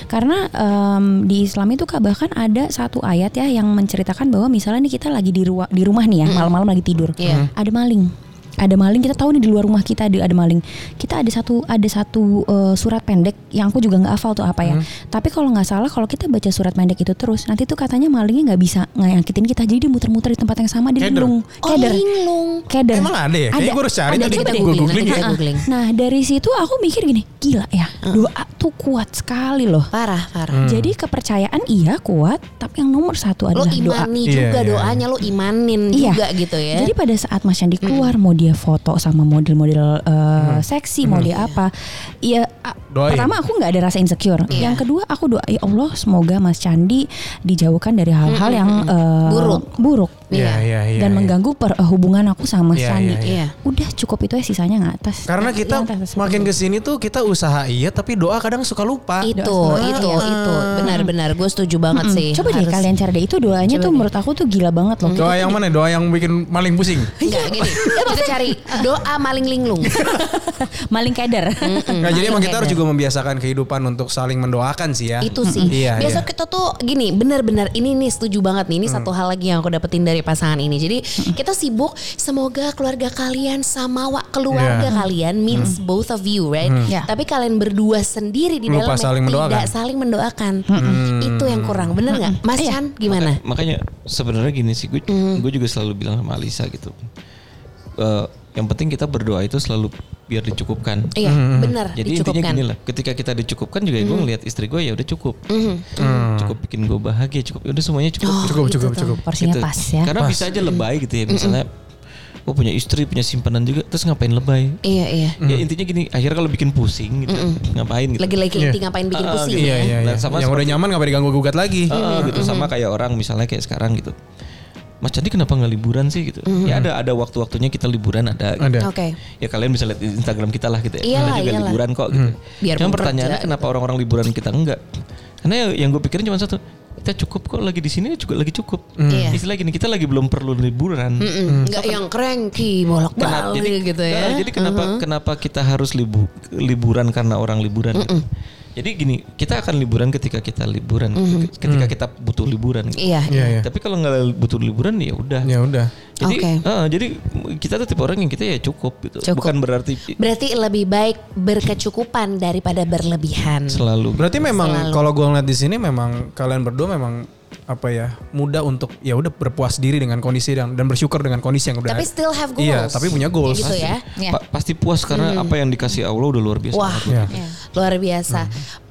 Karena em, di Islam itu Kak, bahkan ada satu ayat ya yang menceritakan bahwa misalnya nih kita lagi di ruang di rumah nih ya malam-malam lagi tidur, Iya. ada maling, ada maling kita tahu nih di luar rumah kita ada ada maling. Kita ada satu ada satu eh, surat pendek yang aku juga nggak hafal tuh apa ya. Tapi kalau nggak salah kalau kita baca surat pendek itu terus nanti tuh katanya malingnya nggak bisa ngayakitin kita jadi dia muter-muter di tempat yang sama dia Keder. linglung, Oh, linglung. keder. Emang ada ya? Kayaknya Ada. gue harus cari Ada, tadi. coba Gue googling, googling nanti ya. kita googling. Nah dari situ aku mikir gini, gila ya doa tuh kuat sekali loh. Parah, parah. Hmm. Jadi kepercayaan iya kuat, tapi yang nomor satu Lo adalah doa. imani Iya, juga iya. doanya, lo imanin Iya. juga gitu ya. Hmm. Jadi pada saat Mas Yandi keluar mau dia foto sama model-model eh, seksi, mau dia apa, ya a- Hmm. Doain. pertama aku nggak ada rasa insecure. Iya. Yang kedua aku doa ya Allah semoga Mas Candi dijauhkan dari hal-hal yang eh, Hmm, Buruk. buruk Iya, iya, iya. dan iya. mengganggu per- hubungan aku sama Mas Iya, Candi. iya. iya, Udah cukup itu ya sisanya nggak atas. Karena Yang kita atas. makin kesini tuh kita usaha iya tapi doa kadang suka lupa. itu, itu, itu. Benar-benar gue setuju banget sih. Coba deh Harus- kalian cari deh itu doanya tuh menurut aku tuh gila banget loh. Doa yang mana? Doa yang bikin maling pusing. Enggak Iya, gini, kita cari doa maling linglung. Maling keder. Nggak, jadi emang kita harus juga membiasakan kehidupan untuk saling mendoakan sih ya. itu sih. Iya, Mm. Biasa iya. kita tuh gini, benar-benar ini nih setuju banget nih. Ini satu hal lagi yang aku dapetin dari pasangan ini. Jadi kita sibuk semoga keluarga kalian sama wa Iya. keluarga kalian means both of you, right? Ya. Tapi kalian berdua sendiri di dalam Lupa saling mendoakan. tidak saling mendoakan. Itu yang kurang, bener nggak, Mas Chan? Gimana? Mhm. Maka- makanya sebenarnya gini sih gue gue juga selalu bilang sama Alisa gitu. Eh, yang penting kita berdoa itu selalu biar dicukupkan. Iya, bener. Jadi dicukupkan. Mhm. intinya gini lah, ketika kita dicukupkan juga gue ngeliat istri gue ya udah cukup. Hmm. Cukup bikin gue bahagia, cukup ya udah semuanya cukup. Oh, Cukup, cukup, cukup. Porsinya Gitu. pas ya. Karena bisa Mhm. aja lebay gitu ya misalnya. Oh punya istri, punya simpanan juga, terus ngapain lebay? Iya, iya. Ya intinya gini, akhirnya kalau bikin pusing gitu, ngapain gitu. Lagi-lagi inti ngapain bikin Ah, pusing gitu. ya? Iya, iya, iya. Nah, sama yang udah seperti- nyaman gak pada diganggu gugat lagi. Heeh, gitu sama kayak orang misalnya kayak sekarang gitu. Mas Candi kenapa nggak liburan sih gitu? Ya ada ada waktu-waktunya kita liburan ada. gitu. Ada. Oke. Ya kalian bisa lihat di Instagram kita lah gitu. ya. Iyalah, kita juga iyalah. liburan kok gitu. Biarpun Cuma pertanyaannya kerja, kenapa orang-orang liburan kita enggak? Karena ya yang gue pikirin cuma satu, kita cukup kok lagi di sini juga lagi cukup. Iya. Istilah gini kita lagi belum perlu liburan. Mm. Mm-mm, Nggak yang cranky Kenapa- bolak-balik gitu Nah, ya. jadi kenapa kenapa kita harus libu- liburan karena orang liburan? gitu. Jadi gini, kita akan liburan ketika kita liburan, ketika kita butuh liburan. gitu. Mm-hmm. Iya, Mm-hmm. Iya, iya. Tapi kalau nggak butuh liburan ya udah. Ya udah. Jadi, Oke. eh, jadi kita tuh tipe orang yang kita ya cukup gitu. Cukup. Bukan berarti Berarti lebih baik berkecukupan daripada berlebihan. selalu. Berarti memang kalau gue ngeliat di sini memang kalian berdua memang apa ya mudah untuk ya udah berpuas diri dengan kondisi dan dan bersyukur dengan kondisi yang udah Tapi ada. still have goals. Iya, tapi punya goals. Gitu ya. Pa- pasti puas karena apa yang dikasih Allah udah luar biasa. Wah, ya. Iya. Hmm. luar biasa.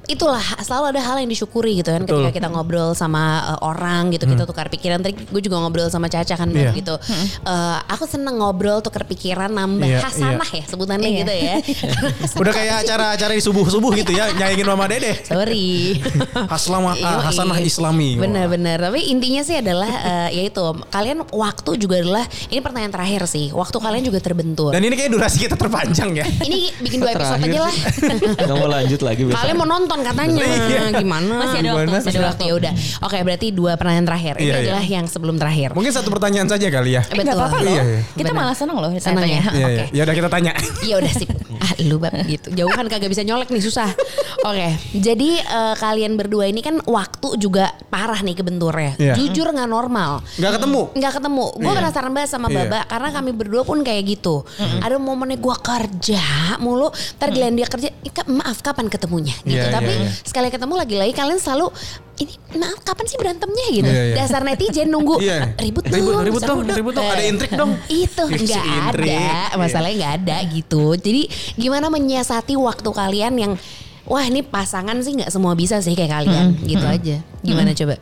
Itulah selalu ada hal yang disyukuri gitu kan ketika kita ngobrol sama uh, orang gitu kita tukar pikiran. Tadi gue juga ngobrol sama Caca kan Hmm. Iya. gitu. Eh, aku seneng ngobrol tukar pikiran nambah Iya, hasanah ya sebutannya gitu ya. Udah kayak acara-acara di subuh-subuh gitu ya nyanyiin Mama Dede. Sorry. Haslama, ah, Yoi. Hasanah Islami. Benar-benar. Tapi intinya sih adalah eh, yaitu kalian waktu juga adalah ini pertanyaan terakhir sih. Waktu kalian juga terbentur. Dan ini kayak durasi kita terpanjang ya. ini bikin dua episode aja lah. Gak mau lanjut lagi besok. Kalian mau nonton katanya gimana? Masih ada waktu, Masih ada waktu ya udah. Oke, berarti dua pertanyaan terakhir. Ini Iya, iya. adalah yang sebelum terakhir. Mungkin satu pertanyaan saja kali ya. Eh, Betul. apa-apa loh. Iya, iya. Kita Benar. malah seneng loh Senang ya. Oke. ditanya-tanya. Iya, iya. Ya udah kita tanya. Iya udah sip. Ah lu bab gitu. Jauhan kagak bisa nyolek nih susah. Oke. Jadi eh, kalian berdua ini kan waktu juga parah nih kebenturnya. Iya. Jujur nggak normal. Nggak ketemu. Nggak ketemu. Gue Iya. penasaran banget sama Iya. Baba karena kami berdua pun kayak gitu. Ada momennya gue kerja mulu. Ntar giliran dia kerja, "Ika, maaf kapan ketemunya? Gitu. Iya, Tapi Tapi iya. sekali ketemu lagi-lagi kalian selalu ini maaf kapan sih berantemnya gitu. Iya, iya. Dasar netizen nunggu Iya. "Ah, ribut dong, Ribut, ribut seru dong, ribut dong. Ada intrik dong. Iya, Itu Si nggak intrik. Iya. ada, masalahnya nggak ada gitu. Jadi gimana menyiasati waktu kalian yang wah ini pasangan sih nggak semua bisa sih kayak kalian gitu aja. Gimana coba?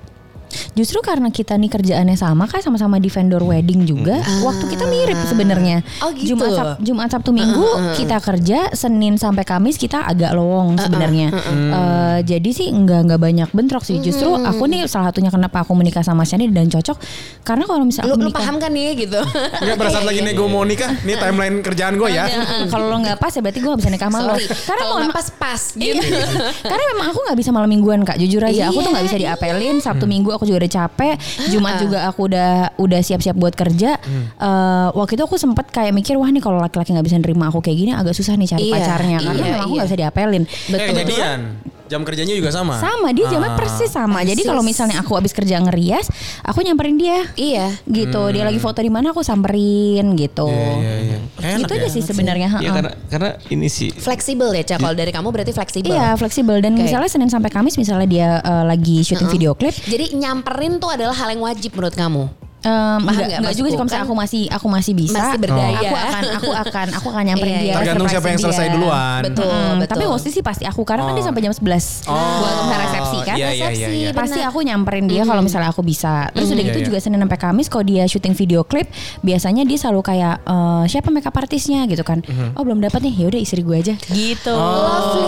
Justru karena kita nih kerjaannya sama kan sama-sama di vendor wedding juga, waktu kita mirip sebenarnya. Ah. Oh, gitu. Jumat, Sab- Jumat Sabtu Minggu kita kerja, Senin sampai Kamis kita agak lowong sebenarnya. Hmm. Eh, jadi sih nggak nggak banyak bentrok sih. Justru aku nih salah satunya kenapa aku menikah sama Shani dan cocok karena kalau Lu, misalnya aku lu menikah paham kan nih gitu. Enggak pada saat lagi nego mau nikah, nih timeline kerjaan gue ya. Heeh, kalau lo nggak pas ya berarti gue gak bisa nikah sama lo. Ah. Sorry, Karena kalau mau- nggak pas pas gitu. Iya. Karena memang aku nggak bisa malam mingguan kak, jujur aja aku tuh Iya, nggak bisa diapelin. Hmm. Sabtu minggu aku juga udah capek, Ah. Jumat juga aku udah udah siap-siap buat kerja. Hmm. Eh, waktu itu aku sempet kayak mikir wah nih kalau laki-laki nggak bisa nerima aku kayak gini agak susah nih cari Iya, pacarnya karena iya, memang aku iya. nggak bisa diapelin. Eh jadian. Jam kerjanya juga sama. Sama dia jamnya Ah. persis sama. Jadi Persis. kalau misalnya aku habis kerja ngerias, aku nyamperin dia Iya. gitu. Dia lagi foto di mana aku samperin gitu. Iya, Hmm. iya, iya. Enak Itu aja ya. sih sebenarnya. Iya, Ya heeh. karena karena ini sih Fleksibel ya, Cak. Kalau dari kamu berarti fleksibel. Iya fleksibel dan Oke. misalnya Senin sampai Kamis misalnya dia eh, lagi syuting video klip Jadi nyamperin tuh adalah hal yang wajib menurut kamu. Em, Paham enggak, nggak enggak juga sih maksudku? kalau misalnya Kan aku masih aku masih bisa masih berdaya. aku akan aku akan aku akan nyamperin Iya, dia iya. Tergantung siapa yang surprisein selesai dia. duluan. Betul, Mm, betul. tapi mostly sih pasti aku karena kan dia sampai jam 11 Oh, buat urusan resepsi kan iya, iya, iya, iya. pasti aku nyamperin Mm-hmm. dia kalau misalnya aku bisa terus udah Iya, gitu iya. juga Senin sampai Kamis kalau dia syuting video klip biasanya dia selalu kayak eh, siapa makeup artisnya gitu kan Mm-hmm. oh belum dapat nih yaudah istri gue aja gitu Oh.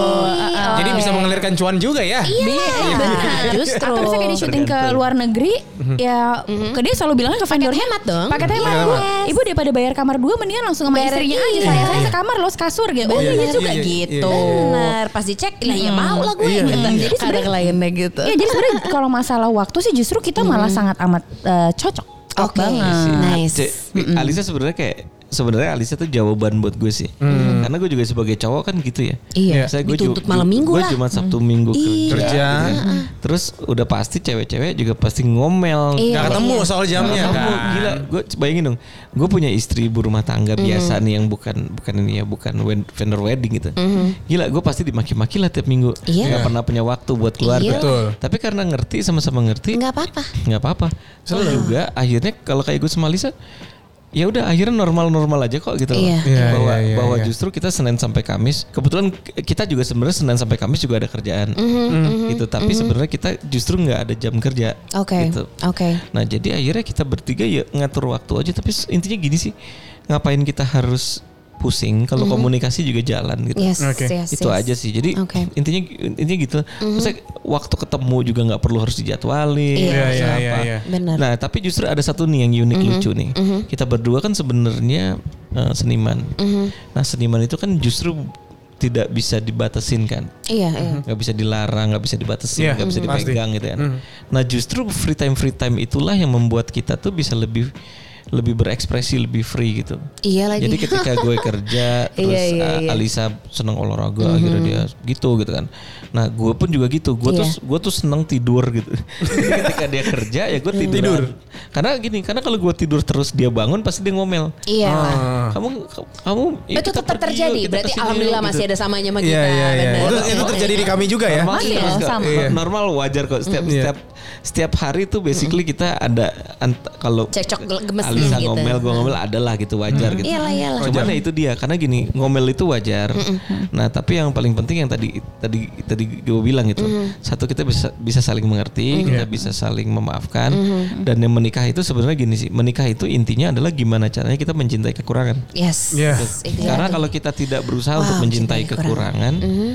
Jadi bisa mengalirkan cuan juga ya. Iya, Iya. benar. Justru. Atau misalnya kayak dia syuting ke luar negeri, Mhm. ya ke dia selalu bilangnya ke vendornya hemat dong. Paket hemat Iya. Bu. Ibu daripada bayar kamar dua mendingan langsung sama Bayar- istrinya aja iya. saya. Saya sekamar los kasur gitu. Oh Iya, iya, iya, juga iya, iya. gitu. Benar, pas dicek lah ya mau lah gue. Iya. gitu. Iya. Jadi ada kliennya gitu. Iya, jadi sebenarnya kalau masalah waktu sih justru kita Mhm. malah sangat amat eh, cocok. Cocok Oke, nice. Cek, Alisa sebenarnya kayak sebenarnya Alisa tuh jawaban buat gue sih. Hmm. Karena gue juga sebagai cowok kan gitu ya. Iya, Saya gue dituntut malam minggu gue lah. Mm. Iya. cuma Sabtu Minggu kerja. Kerja. gitu ya. Terus udah pasti cewek-cewek juga pasti ngomel. Iya. Gak ketemu soal jamnya Kamu kan. gila, gue bayangin dong. Gue punya istri ibu rumah tangga biasa nih yang bukan bukan ini ya, bukan wed- vendor wedding gitu. Gila, gue pasti dimaki-maki lah tiap minggu. Mm-hmm. Iya. Gak pernah punya waktu buat keluarga. Iya. Betul. Tapi karena ngerti sama-sama ngerti, Enggak apa-apa. nggak apa-apa. Oh. Terus juga akhirnya kalau kayak gue sama Lisa, ya udah akhirnya normal-normal aja kok gitu loh. Iya. Iya, bahwa iya, iya, bahwa iya. justru kita Senin sampai Kamis. Kebetulan k- kita juga sebenarnya Senin sampai Kamis juga ada kerjaan. Mhm, Gitu, tapi sebenarnya kita justru nggak ada jam kerja. Oke. Gitu. Oke. Nah, jadi akhirnya kita bertiga ya ngatur waktu aja tapi s- intinya gini sih. Ngapain kita harus pusing kalau Mhm. komunikasi juga jalan gitu Yes, Oke. yes, itu yes. aja sih jadi Iya Oke. Mhm. intinya intinya gitu Maksudnya waktu ketemu juga nggak perlu harus dijadwalin Iya, harus iya, apa. iya, iya. Benar. Mhm. nah tapi justru ada satu nih yang unik lucu nih kita berdua kan sebenarnya eh, seniman Mhm. nah seniman itu kan justru tidak bisa dibatasin kan Iya, iya. Mhm. nggak bisa dilarang nggak bisa dibatasin Iya, nggak bisa mhm. pasti. dipegang gitu kan nah justru free time free time itulah yang membuat kita tuh bisa lebih lebih berekspresi lebih free gitu Iya lagi. jadi ketika gue kerja terus Iya, iya, uh, iya. Mhm. Alisa seneng olahraga akhirnya dia gitu gitu kan. Nah gue pun juga gitu. Gue tuh Iya. gue tuh seneng tidur gitu. Jadi ketika dia kerja Iya. ya gue tidur. Karena gini karena kalau gue tidur terus dia bangun pasti dia ngomel. Iya. lah. Oh. Kamu kamu ya itu kita tetap pergi yuk, terjadi. kita Berarti kesini yuk, alhamdulillah gitu. masih ada samanya sama kita. Iya, iya, iya. benar. Itu, itu terjadi di kami juga ya. Normal sih, Iya, Mas, Kak. sama. Iya. Normal wajar kok. Setiap Mhm. Iya. setiap setiap hari tuh basically kita ada ant- kalau Cekcok gemes Alisa Mhm. gitu. Mhm. Iya, ngomel, gue ngomel adalah gitu wajar gitu. Iyalah, iyalah. Cuman ya itu dia karena gini ngomel itu wajar. Nah tapi yang paling penting yang tadi tadi tadi gue bilang gitu. Satu kita bisa bisa saling mengerti, kita bisa saling memaafkan. Dan yang menikah itu sebenarnya gini sih. Menikah itu intinya adalah gimana caranya kita mencintai kekurangan. Yes. Iya. Exactly. Karena kalau kita tidak berusaha untuk Wow, mencintai cintai kekurangan, Mm-hmm.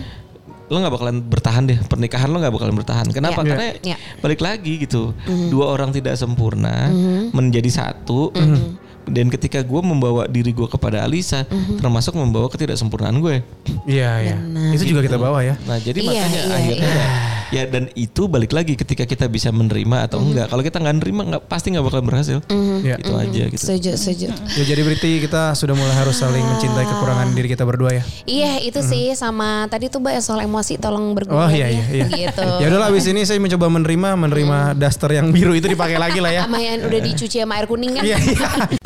lo nggak bakalan bertahan deh. Pernikahan lo nggak bakalan bertahan. Kenapa? Iya. Karena Iya. Mm-hmm. balik lagi gitu, dua orang tidak sempurna menjadi satu. Mm-hmm. Dan ketika gue membawa diri gue kepada Alisa, termasuk membawa ketidaksempurnaan gue. Iya, iya. Itu juga kita bawa ya. Nah jadi Iya, makanya iya, akhirnya ya- ya dan itu balik lagi ketika kita bisa menerima Mm-hmm. atau enggak. Kalau kita nggak nerima, nggak pasti nggak bakalan berhasil. Iya. Itu Mm-hmm. aja gitu. Setuju, setuju. Ya jadi berarti kita sudah mulai harus saling mencintai kekurangan diri kita berdua ya. Iya itu sih sama tadi tuh mbak soal emosi tolong berguna Oh iya iya iya. gitu. Ya udahlah abis ini saya mencoba menerima menerima daster yang biru itu dipakai lagi lah ya. Sama yang udah dicuci sama air kuning kan. Iya iya.